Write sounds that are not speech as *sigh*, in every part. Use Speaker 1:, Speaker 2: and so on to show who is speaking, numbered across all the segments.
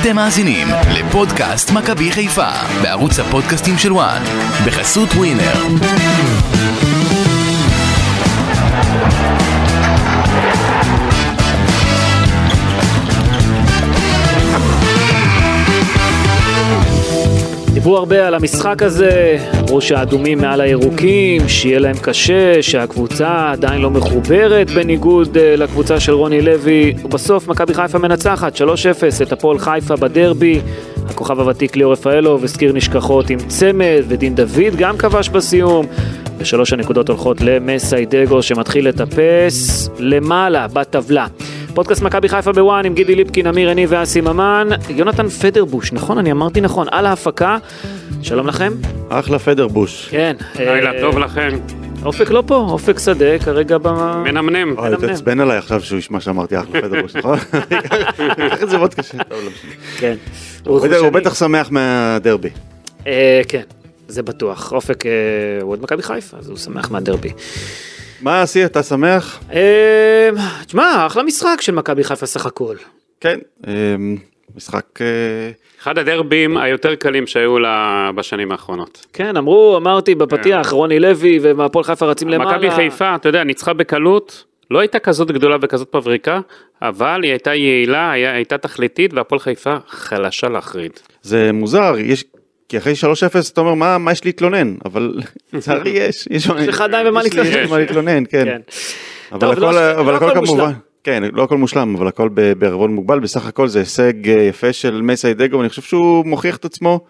Speaker 1: אתם מאזינים לפודקאסט מכבי חיפה בערוץ הפודקאסטים של וואן בחסות ווינר.
Speaker 2: דיברו הרבה על המשחק הזה, אמרו שהאדומים מעל הירוקים, שיהיה להם קשה, שהקבוצה עדיין לא מחוברת בניגוד אה, לקבוצה של רוני לוי. ובסוף מכבי חיפה מנצחת 3-0 את הפועל חיפה בדרבי. הכוכב הוותיק ליאור רפאלוב הזכיר נשכחות עם צמד, ודין דוד גם כבש בסיום. ושלוש הנקודות הולכות למסיידגו שמתחיל לטפס למעלה בטבלה. פודקאסט מכבי חיפה בוואן עם גידי ליפקין, אמיר עיני ואסי ממן, יונתן פדרבוש, נכון? אני אמרתי נכון, על ההפקה. שלום לכם.
Speaker 3: אחלה פדרבוש.
Speaker 2: כן.
Speaker 4: לילה
Speaker 2: אה,
Speaker 4: טוב לכם,
Speaker 2: אופק לא פה, אופק שדה כרגע ב...
Speaker 4: מנמנם.
Speaker 3: אוי,
Speaker 2: מנמנם.
Speaker 3: תעצבן עליי עכשיו שהוא ישמע שאמרתי אחלה
Speaker 2: *laughs*
Speaker 3: פדרבוש, נכון? קח את זה מאוד קשה. טוב, לא משנה.
Speaker 2: כן.
Speaker 3: הוא בטח- הוא
Speaker 2: חושני.
Speaker 3: בטח שמח מהדרבי.
Speaker 2: אה, כן, זה בטוח. אופק אה, הוא עוד מכבי חיפה, אז הוא שמח מהדרבי.
Speaker 3: מה אסי, אתה שמח?
Speaker 2: אה, תשמע, אחלה משחק של מכבי חיפה סך הכל.
Speaker 3: כן. אמ, משחק... אה,
Speaker 4: אחד הדרבים היותר קלים שהיו לה בשנים האחרונות.
Speaker 2: כן, אמרו, אמרתי בפתיח, רוני לוי ומהפועל חיפה רצים למעלה.
Speaker 4: כן. מכבי חיפה, אתה יודע, ניצחה בקלות, לא הייתה כזאת גדולה וכזאת מבריקה, אבל היא הייתה יעילה, היה- הייתה תכליתית, והפועל חיפה חלשה להחריד.
Speaker 3: זה מוזר, יש... כי אחרי 3-0 אתה אומר, "מה- מה יש להתלונן?
Speaker 2: *laughs*
Speaker 3: אבל לצערי יש. יש
Speaker 2: לך עדיין במה
Speaker 3: יש לי- יש לי
Speaker 2: להתלונן.
Speaker 3: מה להתלונן, כן.
Speaker 2: כן.
Speaker 3: אבל
Speaker 2: טוב,
Speaker 3: הכל,
Speaker 2: לא-
Speaker 3: אבל
Speaker 2: לא
Speaker 3: הכל
Speaker 2: הכל
Speaker 3: כמובן,
Speaker 2: מושלם.
Speaker 3: כן, לא הכל מושלם, אבל הכל ב- בערבון מוגבל, בסך הכל זה הישג אה, יפה של מסי דגו, ואני חושב שהוא מוכיח את עצמו,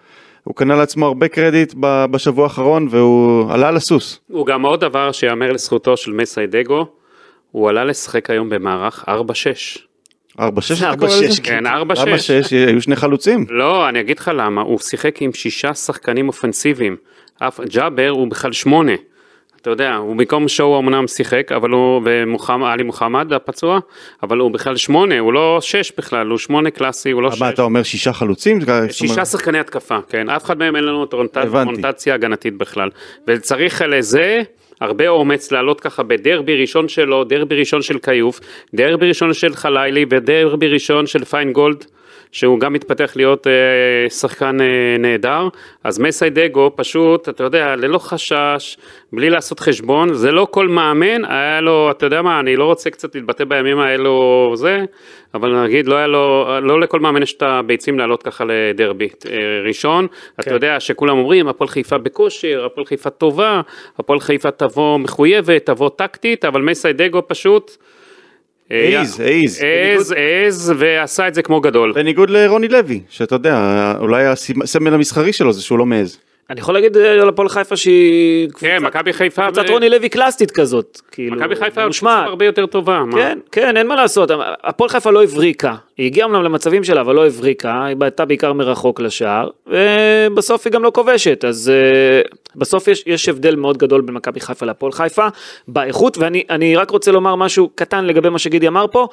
Speaker 3: הוא קנה לעצמו הרבה קרדיט ב- בשבוע האחרון, והוא עלה על הסוס.
Speaker 4: הוא גם עוד דבר שיאמר לזכותו של מסיידגו, הוא עלה לשחק היום במערך 4-6.
Speaker 3: 4-6 אתה
Speaker 2: ארבע,
Speaker 3: קורא לזה?
Speaker 2: שש,
Speaker 4: כן, 4-6.
Speaker 3: למה 6? היו שני חלוצים.
Speaker 4: לא, אני אגיד לך למה, הוא שיחק עם שישה שחקנים אופנסיביים. אף ג'אבר הוא בכלל שמונה. אתה יודע, הוא במקום שואו אמנם שיחק, אבל הוא, ומוחמד, עלי מוחמד הפצוע, אבל הוא בכלל שמונה, הוא לא שש בכלל, הוא שמונה קלאסי, הוא לא
Speaker 3: מה, אתה
Speaker 4: שש.
Speaker 3: אומר שישה חלוצים? זאת אומרת,
Speaker 4: שישה שחקני התקפה, כן, אף אחד מהם אין לנו אוריינט-
Speaker 3: הבנתי.
Speaker 4: אוריינטציה הגנתית בכלל. וצריך לזה הרבה אומץ לעלות ככה בדרבי ראשון שלו, דרבי ראשון של כיוף, דרבי ראשון של חלילי ודרבי ראשון של פיינגולד, שהוא גם מתפתח להיות אה, שחקן אה, נהדר. אז מסיידגו פשוט, אתה יודע, ללא חשש, בלי לעשות חשבון, זה לא כל מאמן, היה לו, אתה יודע מה, אני לא רוצה קצת להתבטא בימים האלו זה, אבל נגיד, לא היה לו, לא לכל מאמן יש את הביצים לעלות ככה לדרבי אה, ראשון.
Speaker 2: כן.
Speaker 4: אתה יודע שכולם אומרים, הפועל חיפה בכושר, הפועל חיפה טובה, הפועל חיפה תבוא מחויבת, תבוא טקטית, אבל מסיידגו פשוט... אה,
Speaker 3: העז, העז.
Speaker 4: העז, העז, ועשה את זה כמו גדול.
Speaker 3: בניגוד לרוני לוי, שאתה יודע, אולי הסמל המסחרי שלו זה שהוא לא מעז.
Speaker 2: אני יכול להגיד אה, על הפועל חיפה שהיא
Speaker 4: כן,
Speaker 2: קבוצה-
Speaker 4: מכבי חיפה...
Speaker 2: קבוצת
Speaker 4: ו-
Speaker 2: רוני לוי קלאסטית כזאת. כאילו,
Speaker 4: מכבי חיפה היא
Speaker 2: מושמעת.
Speaker 4: קבוצה הרבה יותר טובה. מה?
Speaker 2: כן, כן, אין מה לעשות, הפועל חיפה לא הבריקה, היא הגיעה אמנם למצבים שלה, אבל לא הבריקה, היא בעטה בעיקר מרחוק לשער, ובסוף היא גם לא כובשת, אז uh, בסוף יש, יש הבדל מאוד גדול בין מכבי חיפה להפועל חיפה, באיכות, ואני אני רק רוצה לומר משהו קטן לגבי מה שגידי אמר פה,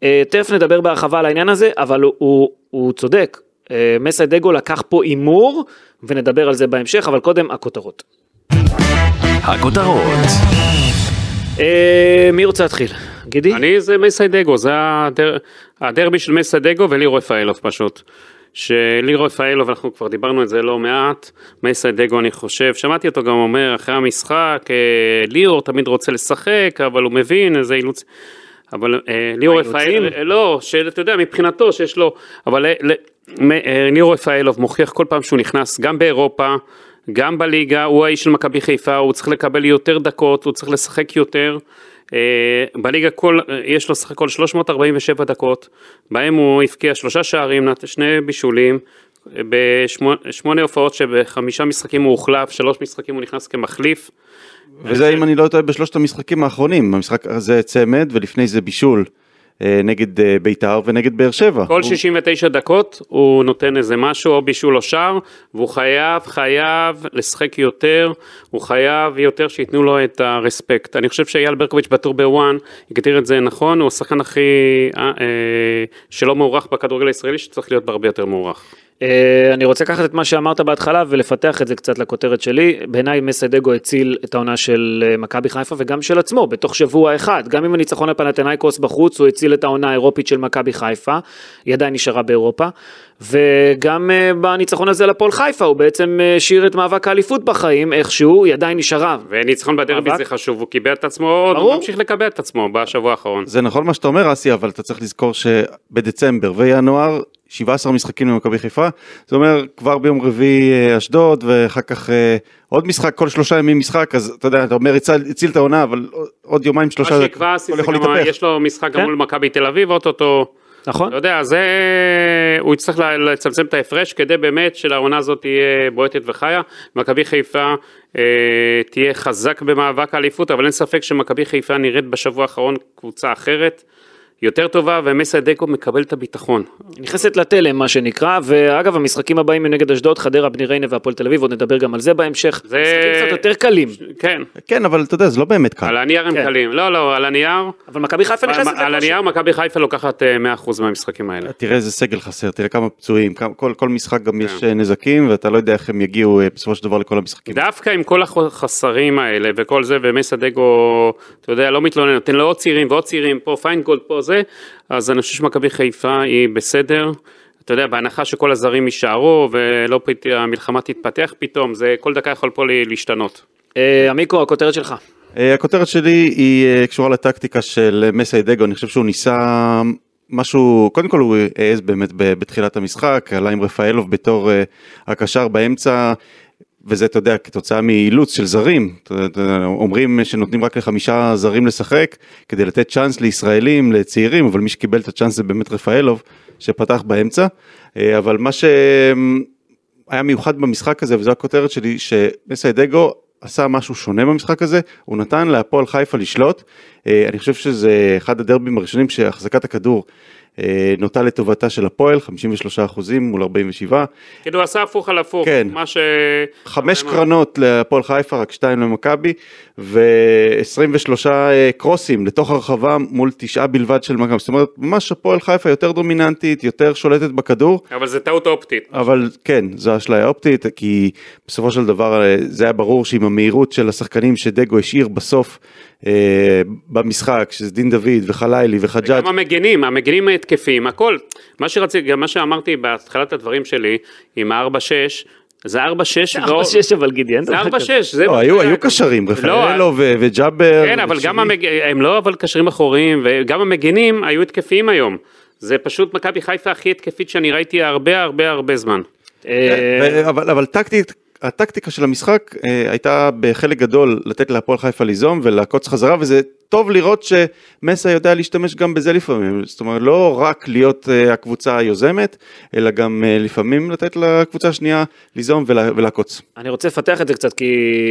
Speaker 2: uh, תכף נדבר בהרחבה על העניין הזה, אבל הוא, הוא, הוא צודק, uh, מסי דגו לקח פה הימור, ונדבר על זה בהמשך, אבל קודם הכותרות.
Speaker 1: הכותרות,
Speaker 2: Uh, מי רוצה להתחיל? גידי?
Speaker 4: אני זה מסיידגו, זה הדר... הדרבי של מסיידגו ולירו רפאלוב פשוט. שלירו רפאלוב, אנחנו כבר דיברנו את זה לא מעט, מסיידגו אני חושב, שמעתי אותו גם אומר אחרי המשחק, אה, ליאור תמיד רוצה לשחק, אבל הוא מבין איזה אילוץ. אבל אה, ליאור
Speaker 2: האילוצים?
Speaker 4: רפאלוב, אה, לא, שאתה יודע, מבחינתו שיש לו, אבל אה, ל- מ- אה, ליאור רפאלוב מוכיח כל פעם שהוא נכנס, גם באירופה, גם בליגה, הוא האיש של מכבי חיפה, הוא צריך לקבל יותר דקות, הוא צריך לשחק יותר. אה, בליגה כל, אה, יש לו סך הכל 347 דקות, בהם הוא הבקיע שלושה שערים, נת- שני בישולים, אה, בשמונה הופעות שבחמישה משחקים הוא הוחלף, שלוש משחקים הוא נכנס כמחליף.
Speaker 3: וזה אם אני לא טועה בשלושת המשחקים האחרונים, המשחק הזה צמד ולפני זה בישול אה, נגד אה, בית"ר ונגד באר שבע.
Speaker 4: כל
Speaker 3: הוא-
Speaker 4: 69 דקות הוא נותן איזה משהו, או בישול או שער, והוא חייב, חייב לשחק יותר, הוא חייב יותר שייתנו לו את הרספקט. אני חושב שאייל ברקוביץ' בטור בוואן הגדיר את זה נכון, הוא השחקן הכי אה, אה, שלא מוערך בכדורגל הישראלי, שצריך להיות בה הרבה יותר מוערך.
Speaker 2: אה, אני רוצה לקחת את מה שאמרת בהתחלה ולפתח את זה קצת לכותרת שלי. בעיניי מסיידגו הציל את העונה של אה, מכבי חיפה וגם של עצמו, בתוך שבוע אחד. גם עם הניצחון על פנתנייקוס בחוץ, הוא הציל את העונה האירופית של מכבי חיפה, היא עדיין נשארה באירופה. וגם אה, בניצחון הזה על הפועל חיפה, הוא בעצם אה, השאיר את מאבק האליפות בחיים איכשהו, היא עדיין נשארה.
Speaker 4: וניצחון בדרבי
Speaker 2: מאבק.
Speaker 4: זה חשוב, הוא קיבל את עצמו עוד,
Speaker 2: ברור.
Speaker 4: הוא ממשיך לקבל את עצמו בשבוע האחרון.
Speaker 3: זה נכון מה שאתה אומר אסי אבל אתה צריך לזכור שבדצמבר וינואר 17 משחקים למכבי חיפה זה אומר כבר ביום רביעי אה, אשדוד ואחר כך אה, עוד משחק כל שלושה ימים משחק אז אתה יודע אתה אומר הציל, הציל את העונה אבל עוד יומיים
Speaker 4: מה
Speaker 3: שלושה
Speaker 4: שיקבע, אסי,
Speaker 3: הכל
Speaker 4: זה
Speaker 3: יכול
Speaker 4: גם
Speaker 3: להתהפך.
Speaker 4: יש לו משחק גם
Speaker 2: כן.
Speaker 4: מול מכבי תל אביב, אוטוטו.
Speaker 2: נכון?
Speaker 4: אתה יודע, זה... הוא יצטרך ל- לצמצם את ההפרש כדי באמת שלעונה הזאת תהיה בועטת וחיה. מכבי חיפה אה, תהיה חזק במאבק האליפות, אבל אין ספק שמכבי חיפה נראית בשבוע האחרון קבוצה אחרת, יותר טובה, ומסי דקו מקבל את הביטחון.
Speaker 2: היא נכנסת לתלם מה שנקרא, ואגב המשחקים הבאים הם נגד אשדוד, חדרה, בני ריינה והפועל תל אביב, עוד נדבר גם על זה בהמשך.
Speaker 4: זה-
Speaker 2: משחקים קצת יותר קלים,
Speaker 4: כן,
Speaker 3: כן אבל אתה יודע זה לא באמת קל.
Speaker 4: על הנייר הם
Speaker 2: כן.
Speaker 4: קלים. לא, לא, על הנייר.
Speaker 2: אבל מכבי חיפה נכנסת
Speaker 4: על הנייר מכבי חיפה לוקחת אה, 100% מהמשחקים האלה.
Speaker 3: תראה איזה סגל חסר, תראה כמה פצועים, כמה, כל, כל משחק גם יש אה, נזקים ואתה לא יודע איך הם יגיעו אה, בסופו של דבר לכל המשחקים.
Speaker 4: דווקא עם כל החסרים האלה וכל זה, ומסדגו, אתה יודע, לא מתלונן, נותן לו עוד צעירים ועוד צעירים, פה פיינגולד, פה זה, אז אני חושב שמכבי חיפה היא בסדר. אתה יודע, בהנחה שכל הזרים יישארו ולא פת... המלחמה תתפתח פתאום, זה כל דקה יכול פה ל- להשתנות.
Speaker 2: אה, עמיקו, הכותרת שלך.
Speaker 3: אה, הכותרת שלי היא אה, קשורה לטקטיקה של אה, מסיידגו, אני חושב שהוא ניסה משהו, קודם כל הוא העז באמת ב- בתחילת המשחק, עלה עם רפאלוב בתור אה, הקשר באמצע. וזה אתה יודע כתוצאה מאילוץ של זרים אתה- אתה- אומרים שנותנים רק לחמישה זרים לשחק כדי לתת צ'אנס לישראלים לצעירים אבל מי שקיבל את הצ'אנס זה באמת רפאלוב שפתח באמצע אה, אבל מה ש... היה מיוחד במשחק הזה, וזו הכותרת שלי, שמסיידגו עשה משהו שונה במשחק הזה, הוא נתן להפועל חיפה לשלוט. אה, אני חושב שזה אחד הדרבים הראשונים שהחזקת הכדור אה, נוטה לטובתה של הפועל, 53% מול 47.
Speaker 4: כאילו, הוא עשה הפוך על הפוך.
Speaker 3: כן.
Speaker 4: מה ש...
Speaker 3: חמש קרנות להפועל חיפה, רק שתיים למכבי, ו-23 קרוסים לתוך הרחבה מול תשעה בלבד של מכבי. זאת אומרת, ממש הפועל חיפה יותר דומיננטית, יותר שולטת בכדור.
Speaker 4: אבל זה טעות אופטית.
Speaker 3: אבל כן, זו אשליה אופטית, כי בסופו של דבר אה, זה היה ברור שעם המהירות של השחקנים שדגו השאיר בסוף אה, במשחק, שזה דין דוד וחלילי וחג'אג',
Speaker 4: גם המגנים, המגנים ההתקפיים, הכל. מה שרציתי, גם מה שאמרתי בהתחלת הדברים שלי, עם ה-4-6, זה
Speaker 2: *laughs*
Speaker 4: 4-6 ועוד-
Speaker 2: 4-6 אבל גידי, אין
Speaker 4: לא- זה
Speaker 2: דבר
Speaker 4: 4-6,
Speaker 2: כזה.
Speaker 4: זה...
Speaker 3: לא, היו, היו קשרים, רפאלו ו- וג'אבר.
Speaker 4: לא, כן, אבל
Speaker 3: ושירי.
Speaker 4: גם המג... הם לא אבל קשרים אחוריים, וגם המגנים היו התקפיים היום. זה פשוט מכבי חיפה הכי התקפית שאני ראיתי הרבה הרבה הרבה זמן.
Speaker 2: אה,
Speaker 3: ו- אבל, אבל טקטית, הטקטיקה של המשחק אה, הייתה בחלק גדול לתת להפועל חיפה ליזום ולעקוץ חזרה וזה טוב לראות שמסה יודע להשתמש גם בזה לפעמים, זאת אומרת לא רק להיות אה, הקבוצה היוזמת אלא גם אה, לפעמים לתת לקבוצה השנייה ליזום ולה, ולעקוץ.
Speaker 2: אני רוצה לפתח את זה קצת, כי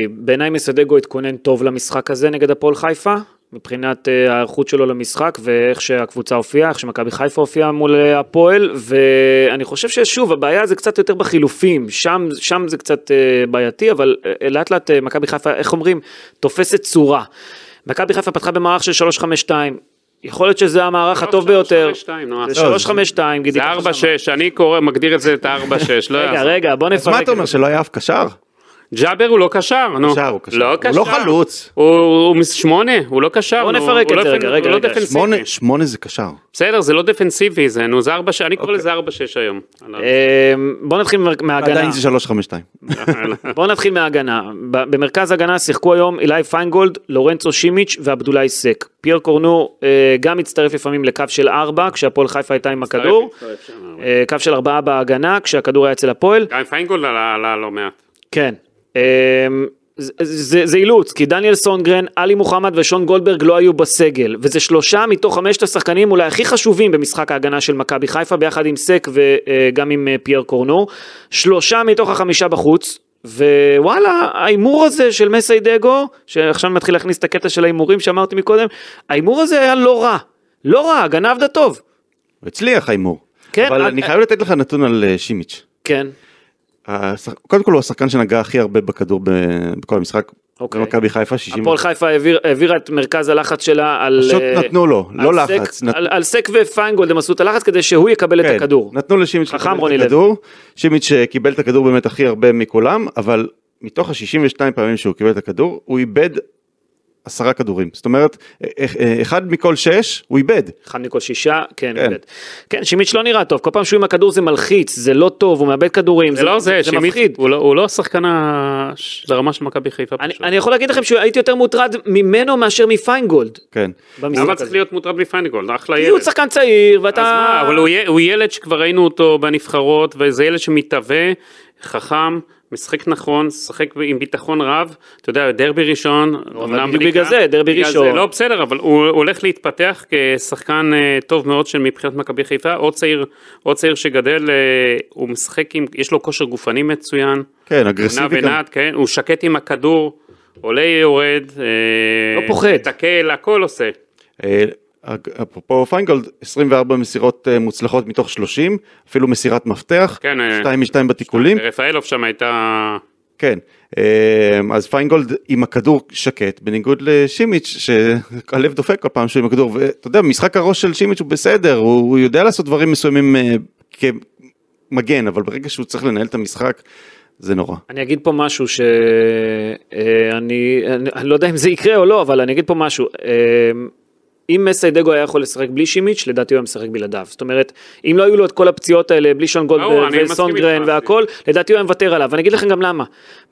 Speaker 2: בעיניי מסדגו התכונן טוב למשחק הזה נגד הפועל חיפה, מבחינת אה, ההיערכות שלו למשחק ואיך שהקבוצה הופיעה, איך שמכבי חיפה הופיעה מול אה, הפועל, ואני חושב ששוב, הבעיה זה קצת יותר בחילופים, שם, שם זה קצת אה, בעייתי, אבל אה, לאט לאט אה, מכבי חיפה, איך אומרים, תופסת צורה. מכבי חיפה פתחה במערך של 3-5-2, יכול להיות שזה המערך
Speaker 4: לא,
Speaker 2: הטוב ביותר.
Speaker 4: 352, נו,
Speaker 2: זה
Speaker 4: זה
Speaker 2: 3-5-2, גידי.
Speaker 4: 4-6,
Speaker 2: ככה שם.
Speaker 4: אני קורא, מגדיר את זה את ה-4-6, לא
Speaker 2: רגע,
Speaker 4: יעזור.
Speaker 2: רגע, בוא
Speaker 3: אז מה
Speaker 2: נפרק.
Speaker 3: אתה אומר שלא היה אף קשר?
Speaker 4: ג'אבר הוא לא קשר, נו.
Speaker 3: קשר, הוא קשר.
Speaker 4: לא
Speaker 3: הוא לא חלוץ.
Speaker 4: הוא הוא מס- שמונה, הוא לא קשר.
Speaker 2: בוא
Speaker 4: נו,
Speaker 2: נפרק
Speaker 4: הוא
Speaker 2: את
Speaker 4: לא
Speaker 2: זה
Speaker 4: דפנ-
Speaker 2: רגע, רגע,
Speaker 4: הוא לא
Speaker 2: רגע.
Speaker 4: דפנסיבי.
Speaker 3: שמונה, שמונה זה קשר.
Speaker 4: בסדר, זה לא דפנסיבי, זה, נו, זה 4-6, אני קורא לזה 4-6 היום.
Speaker 2: אה, בוא נתחיל מההגנה.
Speaker 3: עדיין זה 352.
Speaker 2: בואו נתחיל מההגנה. ב- במרכז ההגנה שיחקו היום אילי פיינגולד, לורנצו שימיץ' ועבדולאי סק. פייר קורנו אה, גם הצטרף לפעמים לקו של ארבע, כשהפועל חיפה הייתה עם
Speaker 4: לא
Speaker 2: הכדור. אה, קו של ארבעה בהגנה, כשהכדור היה אצל הפועל.
Speaker 4: גם פיינגולד עלה עלה לא מעט.
Speaker 2: כן. אה, זה- זה זה אילוץ, כי דניאל סונגרן, עלי מוחמד ושון גולדברג לא היו בסגל, וזה שלושה מתוך חמשת השחקנים אולי הכי חשובים במשחק ההגנה של מכבי חיפה, ביחד עם סק וגם עם אה, פייר קורנו. שלושה מתוך החמישה בחוץ, ווואלה, ההימור הזה של מסיידגו, שעכשיו מתחיל להכניס את הקטע של ההימורים שאמרתי מקודם, ההימור הזה היה לא רע. לא רע, הגנה עבדה טוב.
Speaker 3: הוא הצליח ההימור.
Speaker 2: כן,
Speaker 3: אבל
Speaker 2: אה,
Speaker 3: אני
Speaker 2: אה.
Speaker 3: חייב לתת לך נתון על אה, שימיץ'.
Speaker 2: כן.
Speaker 3: השח- קודם כל הוא השחקן שנגע הכי הרבה בכדור ב- בכל המשחק,
Speaker 2: אוקיי.
Speaker 3: במכבי חיפה 60.
Speaker 2: הפועל חיפה העביר- העבירה את מרכז הלחץ שלה על...
Speaker 3: פשוט
Speaker 2: אה,
Speaker 3: נתנו לו, לא
Speaker 2: על סק-
Speaker 3: לחץ, נת-
Speaker 2: על על סק ופיינגולד הם עשו את הלחץ כדי שהוא יקבל את
Speaker 3: כן,
Speaker 2: הכדור.
Speaker 3: נתנו לשימיץ'
Speaker 2: חכם
Speaker 3: לקבל
Speaker 2: רוני
Speaker 3: את
Speaker 2: לוי.
Speaker 3: הכדור. שימיץ' אה, קיבל את הכדור באמת הכי הרבה מכולם, אבל מתוך ה-62 פעמים שהוא קיבל את הכדור, הוא איבד עשרה כדורים. זאת אומרת, אה, אה, אחד מכל שש הוא איבד.
Speaker 2: אחד מכל שישה, כן,
Speaker 3: כן.
Speaker 2: באמת. כן, שימיץ' לא נראה טוב, כל פעם שהוא עם הכדור זה מלחיץ, זה לא טוב, הוא מאבד כדורים,
Speaker 4: זה לא זה,
Speaker 2: זה
Speaker 4: שימית-
Speaker 2: מפחיד.
Speaker 4: הוא לא- הוא לא השחקן ה- ברמה של מכבי חיפה
Speaker 2: אני,
Speaker 4: פשוט.
Speaker 2: אני יכול להגיד לכם שהייתי יותר מוטרד ממנו מאשר מפיינגולד
Speaker 3: כן.
Speaker 2: במשחק
Speaker 4: למה צריך
Speaker 2: הזה.
Speaker 4: להיות מוטרד מפיינגולד? אחלה
Speaker 2: כי הוא
Speaker 4: ילד.
Speaker 2: שחקן צעיר,
Speaker 4: אז
Speaker 2: ואתה...
Speaker 4: מה, אבל הוא י- הוא ילד שכבר ראינו אותו בנבחרות, וזה ילד שמתהווה, חכם, משחק נכון, משחק עם ביטחון רב, אתה יודע, דרבי ראשון, אמנם
Speaker 2: בדיוק
Speaker 4: בלי
Speaker 2: בגלל
Speaker 4: קהל,
Speaker 2: זה, דרבי
Speaker 4: בגלל
Speaker 2: ראשון.
Speaker 4: זה, לא, בסדר, אבל הוא הולך להתפתח כשחקן אה, טוב מאוד של מבחינת מכבי חיפה, עוד צעיר, עוד צעיר שגדל, אה, הוא משחק עם, יש לו כושר גופני מצוין,
Speaker 3: כן,
Speaker 4: נע
Speaker 3: אגרסיבי גם.
Speaker 4: ונד, כן, הוא שקט עם הכדור, עולה, יורד, אה,
Speaker 2: לא פוחד.
Speaker 4: מתקל, הכל עושה.
Speaker 3: אה, אג- אפרופו פיינגולד, 24 מסירות אה, מוצלחות מתוך 30, אפילו מסירת מפתח,
Speaker 4: כן, אה,
Speaker 3: 2 מ-2 בתיקולים,
Speaker 4: רפאלוב שם הייתה...
Speaker 3: כן. אה, אז פיינגולד עם הכדור שקט, בניגוד לשימיץ' שהלב דופק כל פעם שהוא עם הכדור, ואתה יודע, משחק הראש של שימיץ' הוא בסדר, הוא הוא יודע לעשות דברים מסוימים אה, כמגן, אבל ברגע שהוא צריך לנהל את המשחק, זה נורא.
Speaker 2: אני אגיד פה משהו שאני אני, אני לא יודע אם זה יקרה או לא, אבל אני אגיד פה משהו. אה, אם מסיידגו היה יכול לשחק בלי שימיץ', לדעתי הוא היה משחק בלעדיו. זאת אומרת, אם לא היו לו את כל הפציעות האלה, בלי שון
Speaker 4: ברור, אני
Speaker 2: גולדברג
Speaker 4: מסכים
Speaker 2: וסונגרן
Speaker 4: איתך.
Speaker 2: והכל, לדעתי הוא היה מוותר עליו. ואני אגיד לכם גם למה.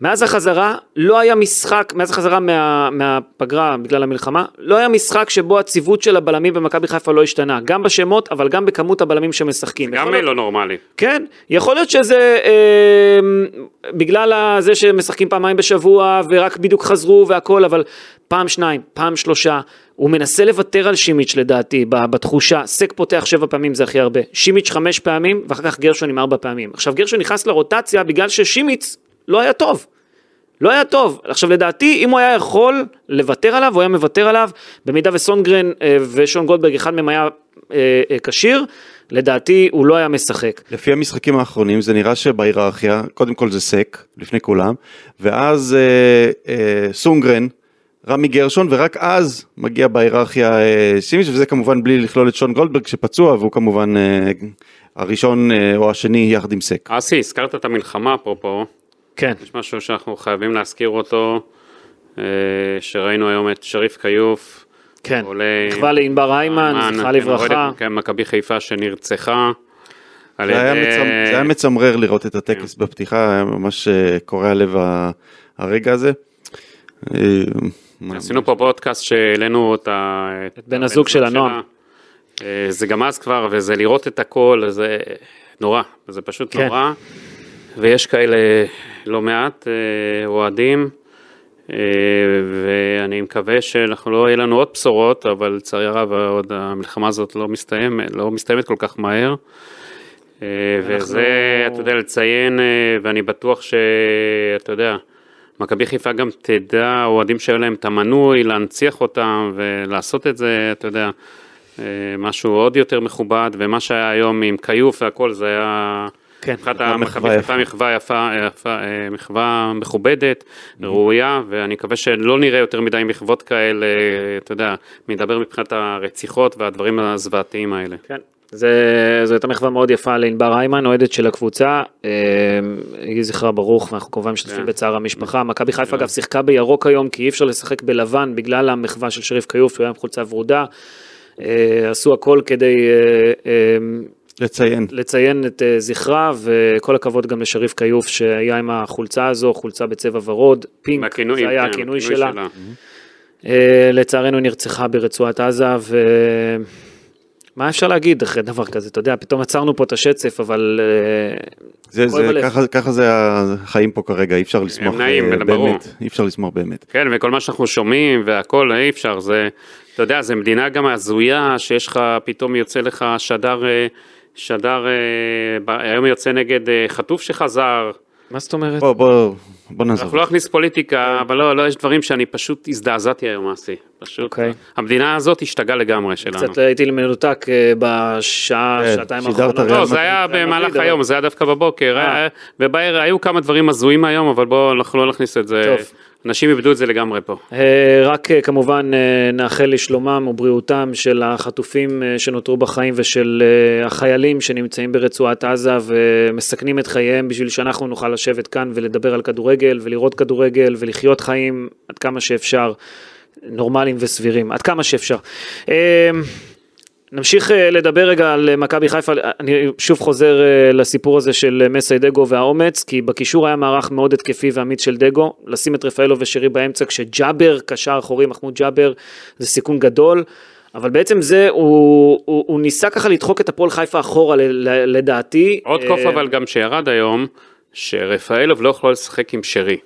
Speaker 2: מאז החזרה, לא היה משחק, מאז החזרה מה, מהפגרה בגלל המלחמה, לא היה משחק שבו הציוות של הבלמים במכבי חיפה לא השתנה. גם בשמות, אבל גם בכמות הבלמים שמשחקים. יכול
Speaker 4: גם
Speaker 2: להיות-
Speaker 4: לא נורמלי.
Speaker 2: כן, יכול להיות שזה אה, בגלל ה- זה שמשחקים פעמיים בשבוע ורק בדיוק חזרו והכל, אבל פעם שניים, פעם שלושה. הוא מנסה לוותר על שימיץ' לדעתי, ב- בתחושה. סק פותח שבע פעמים זה הכי הרבה. שימיץ' חמש פעמים, ואחר כך גרשון עם ארבע פעמים. עכשיו גרשון נכנס לרוטציה בגלל ששימיץ' לא היה טוב. לא היה טוב. עכשיו לדעתי, אם הוא היה יכול לוותר עליו, הוא היה מוותר עליו. במידה וסונגרן אה, ושון גולדברג, אחד מהם היה אה, אה, כשיר, לדעתי הוא לא היה משחק.
Speaker 3: לפי המשחקים האחרונים זה נראה שבהיררכיה קודם כל זה סק לפני כולם ואז אה, אה, סונגרן רמי גרשון ורק אז מגיע בהיררכיה אה, שימיץ' וזה כמובן בלי לכלול את שון גולדברג שפצוע והוא כמובן אה, הראשון אה, או השני יחד עם סק.
Speaker 4: אסי, הזכרת את המלחמה אפרופו,
Speaker 2: כן.
Speaker 4: יש משהו שאנחנו חייבים להזכיר אותו, אה, שראינו היום את שריף כיוף,
Speaker 2: כן,
Speaker 4: עולה-
Speaker 2: נכווה לענבר היימן, זכרה
Speaker 4: כן,
Speaker 2: לברכה.
Speaker 4: אוהדת מכבי חיפה שנרצחה. על
Speaker 3: זה היה,
Speaker 4: ידי-
Speaker 3: מצמ... זה היה מצמרר לראות את הטקס בפתיחה היה ממש אה, קורע לב ה- הרגע הזה. אה, מה-
Speaker 4: עשינו פה פודקאסט שהעלינו אותה, את
Speaker 2: בן הזוג שלה, נועם.
Speaker 4: אה, זה גם אז כבר, וזה לראות את הכל, זה נורא, זה פשוט
Speaker 2: כן.
Speaker 4: נורא. ויש כאלה לא מעט אה, אוהדים, אה, ואני מקווה שאנחנו לא יהיה לנו עוד בשורות, אבל לצערי הרב עוד המלחמה הזאת לא מסתיימת, לא מסתיימת כל כך מהר. אה, וזה, אתה יודע, לציין, אה, ואני בטוח שאתה יודע, מכבי חיפה גם תדע, אוהדים שהיו להם את המנוי, להנציח אותם ולעשות את זה, אתה יודע, אה, משהו עוד יותר מכובד, ומה שהיה היום עם כיוף והכל, זה היה...
Speaker 2: כן,
Speaker 4: מבחינת
Speaker 3: מחווה
Speaker 4: מכבי
Speaker 3: יפה.
Speaker 4: חיפה מחווה יפה, יפה, אה, מחווה מכובדת, ראויה, ואני מקווה שלא נראה יותר מדי מחוות כאלה, אתה יודע, מדבר מבחינת הרציחות והדברים הזוועתיים האלה.
Speaker 2: כן. זה, זו הייתה מחווה מאוד יפה לענבר היימן, אוהדת של הקבוצה. אה, יהי זכרה ברוך, ואנחנו כמובן משתתפים
Speaker 4: כן.
Speaker 2: בצער המשפחה. מכבי חיפה אגב שיחקה בירוק היום, כי אי אפשר לשחק בלבן בגלל המחווה של שריף כיוף, שהוא היה עם חולצה ורודה. אה, עשו הכל כדי אה, אה,
Speaker 3: לציין.
Speaker 2: לציין את אה, זכרה, וכל הכבוד גם לשריף כיוף שהיה עם החולצה הזו, חולצה בצבע ורוד, פינק,
Speaker 4: והכינויים,
Speaker 2: זה היה
Speaker 4: כן,
Speaker 2: הכינוי שלה. אה, לצערנו היא נרצחה ברצועת עזה, ומה אפשר להגיד אחרי דבר כזה, אתה יודע, פתאום עצרנו פה את השצף, אבל אה,
Speaker 3: זה,
Speaker 2: כואב
Speaker 3: זה,
Speaker 2: הלב.
Speaker 3: ככה, ככה זה החיים פה כרגע, אי אפשר לשמוח
Speaker 4: נעים,
Speaker 3: אה,
Speaker 4: ברור.
Speaker 3: באמת, אי אפשר לשמוח באמת.
Speaker 4: כן, וכל מה שאנחנו שומעים והכל, אי אפשר, זה, אתה יודע, זה מדינה גם הזויה, שיש לך, פתאום יוצא לך שדר, אה, שדר, אה, ב- היום יוצא נגד אה, חטוף שחזר.
Speaker 2: מה זאת אומרת?
Speaker 3: בוא, בוא, בוא נעזוב.
Speaker 4: אנחנו לא נכניס פוליטיקה, אבל לא, לא, יש דברים שאני פשוט הזדעזעתי היום, אסי. פשוט,
Speaker 2: אוקיי.
Speaker 4: המדינה הזאת השתגעה לגמרי שלנו.
Speaker 2: קצת הייתי מנותק אה, בשעה,
Speaker 3: כן,
Speaker 2: שעתיים
Speaker 3: שידרת
Speaker 2: האחרונות.
Speaker 3: ריאל
Speaker 4: לא, זה היה
Speaker 2: היה
Speaker 4: במהלך
Speaker 2: מדאיג, אבל-
Speaker 4: היום, זה היה דווקא בבוקר,
Speaker 2: אה.
Speaker 4: אה, ובערב היו כמה דברים הזויים היום, אבל בואו, אנחנו לא נכניס את זה
Speaker 2: טוב.
Speaker 4: אנשים איבדו את זה לגמרי פה.
Speaker 2: אה, רק אה, כמובן אה, נאחל לשלומם ובריאותם של החטופים אה, שנותרו בחיים ושל אה, החיילים שנמצאים ברצועת עזה ומסכנים את חייהם בשביל שאנחנו נוכל לשבת כאן ולדבר על כדורגל ולראות כדורגל ולחיות חיים עד כמה שאפשר נורמליים וסבירים, עד כמה שאפשר. אה, נמשיך אה, לדבר רגע על אה, מכבי חיפה, אני שוב חוזר אה, לסיפור הזה של אה, מסי דגו והאומץ, כי בקישור היה מערך מאוד התקפי ואמיץ של דגו, לשים את רפאלו ושירי באמצע כשג'אבר, קשר אחורי, מחמוד ג'אבר, זה סיכון גדול, אבל בעצם זה, הוא, הוא, הוא ניסה ככה לדחוק את הפועל חיפה אחורה ל, ל, לדעתי.
Speaker 4: עוד
Speaker 2: אה,
Speaker 4: קוף אבל גם שירד היום, שרפאלוב לא יכול לשחק עם שרי.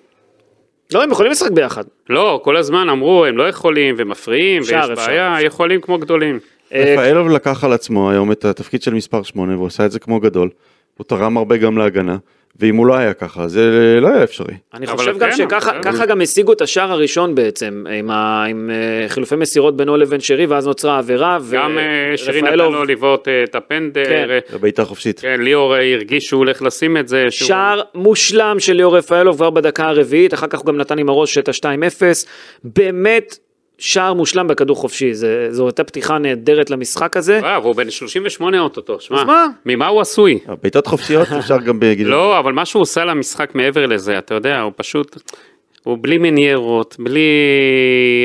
Speaker 2: לא, הם יכולים לשחק ביחד.
Speaker 4: לא, כל הזמן אמרו, הם לא יכולים, ומפריעים, ויש
Speaker 2: אפשר, אפשר,
Speaker 4: בעיה,
Speaker 2: אפשר.
Speaker 4: יכולים כמו גדולים.
Speaker 2: אה,
Speaker 3: רפאלוב לקח על עצמו היום את התפקיד של מספר 8 והוא עשה את זה כמו גדול. הוא תרם הרבה גם להגנה, ואם הוא לא היה ככה זה לא היה אפשרי.
Speaker 2: אני
Speaker 4: אבל
Speaker 2: חושב
Speaker 4: כן,
Speaker 2: גם
Speaker 4: אבל
Speaker 2: שככה
Speaker 4: כן.
Speaker 2: ככה גם השיגו את השער הראשון בעצם, עם, ה, עם אה, חילופי מסירות בינו לבין שרי, ואז נוצרה העבירה. ו-
Speaker 4: גם אה, שרי נתן
Speaker 2: רפאלוב-
Speaker 4: לו לבעוט אה, את הפנדל,
Speaker 2: כן.
Speaker 4: אה,
Speaker 3: זה בעיטה חופשית.
Speaker 4: כן, ליאור אה, הרגיש שהוא הולך לשים את זה. שהוא-
Speaker 2: שער מושלם של ליאור רפאלוב כבר בדקה הרביעית, אחר כך הוא גם נתן עם הראש את ה-2-0. באמת שער מושלם בכדור חופשי, זה, זו הייתה פתיחה נהדרת למשחק הזה.
Speaker 4: אה, והוא בן 38 אוטוטו, שמע.
Speaker 2: אז מה?
Speaker 4: ממה הוא עשוי?
Speaker 3: בעיטת חופשיות
Speaker 4: *laughs*
Speaker 3: אפשר גם בגיל...
Speaker 4: לא, אבל מה שהוא עושה למשחק מעבר לזה, אתה יודע, הוא פשוט, הוא בלי מניירות, בלי,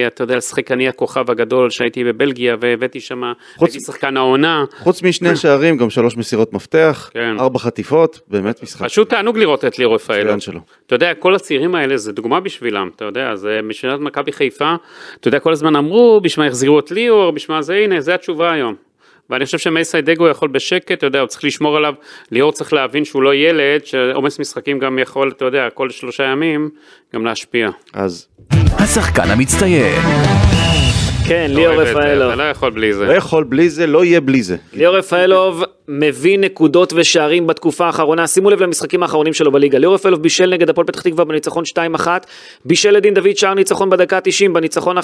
Speaker 4: אתה יודע, לשחק אני הכוכב הגדול שהייתי בבלגיה והבאתי שם,
Speaker 3: חוץ-
Speaker 4: הייתי שחקן העונה,
Speaker 3: חוץ משני השערים גם שלוש מסירות מפתח,
Speaker 4: כן.
Speaker 3: ארבע חטיפות, באמת משחק.
Speaker 4: פשוט תענוג לראות את ליאור רפאלו.
Speaker 3: מצוין שלו.
Speaker 4: אתה יודע, כל הצעירים האלה זה דוגמה בשבילם, אתה יודע, זה בשביל מכבי חיפה, אתה יודע, כל הזמן אמרו, בשביל מה יחזירו את ליאור, בשביל מה זה, הנה, זה התשובה היום. ואני חושב שמייסי דגו יכול בשקט, אתה יודע, הוא צריך לשמור עליו, ליאור צריך להבין שהוא לא ילד, שעומס משחקים גם יכול, אתה יודע, כל שלושה ימים, גם להשפיע.
Speaker 3: אז
Speaker 1: השחקן המצטיין.
Speaker 2: כן, ליאור
Speaker 4: אוהב את זה,
Speaker 2: רפאלוב.
Speaker 4: אתה לא יכול בלי זה.
Speaker 3: לא יכול בלי זה, לא יהיה בלי זה.
Speaker 2: ליאור רפאלוב מביא נקודות ושערים בתקופה האחרונה, שימו לב למשחקים האחרונים שלו בליגה. ליאור רפאלוב בישל נגד הפועל פתח תקווה בניצחון 2-1, בישל לדין דוד שער ניצחון בדקה ה-90 בניצחון 1-0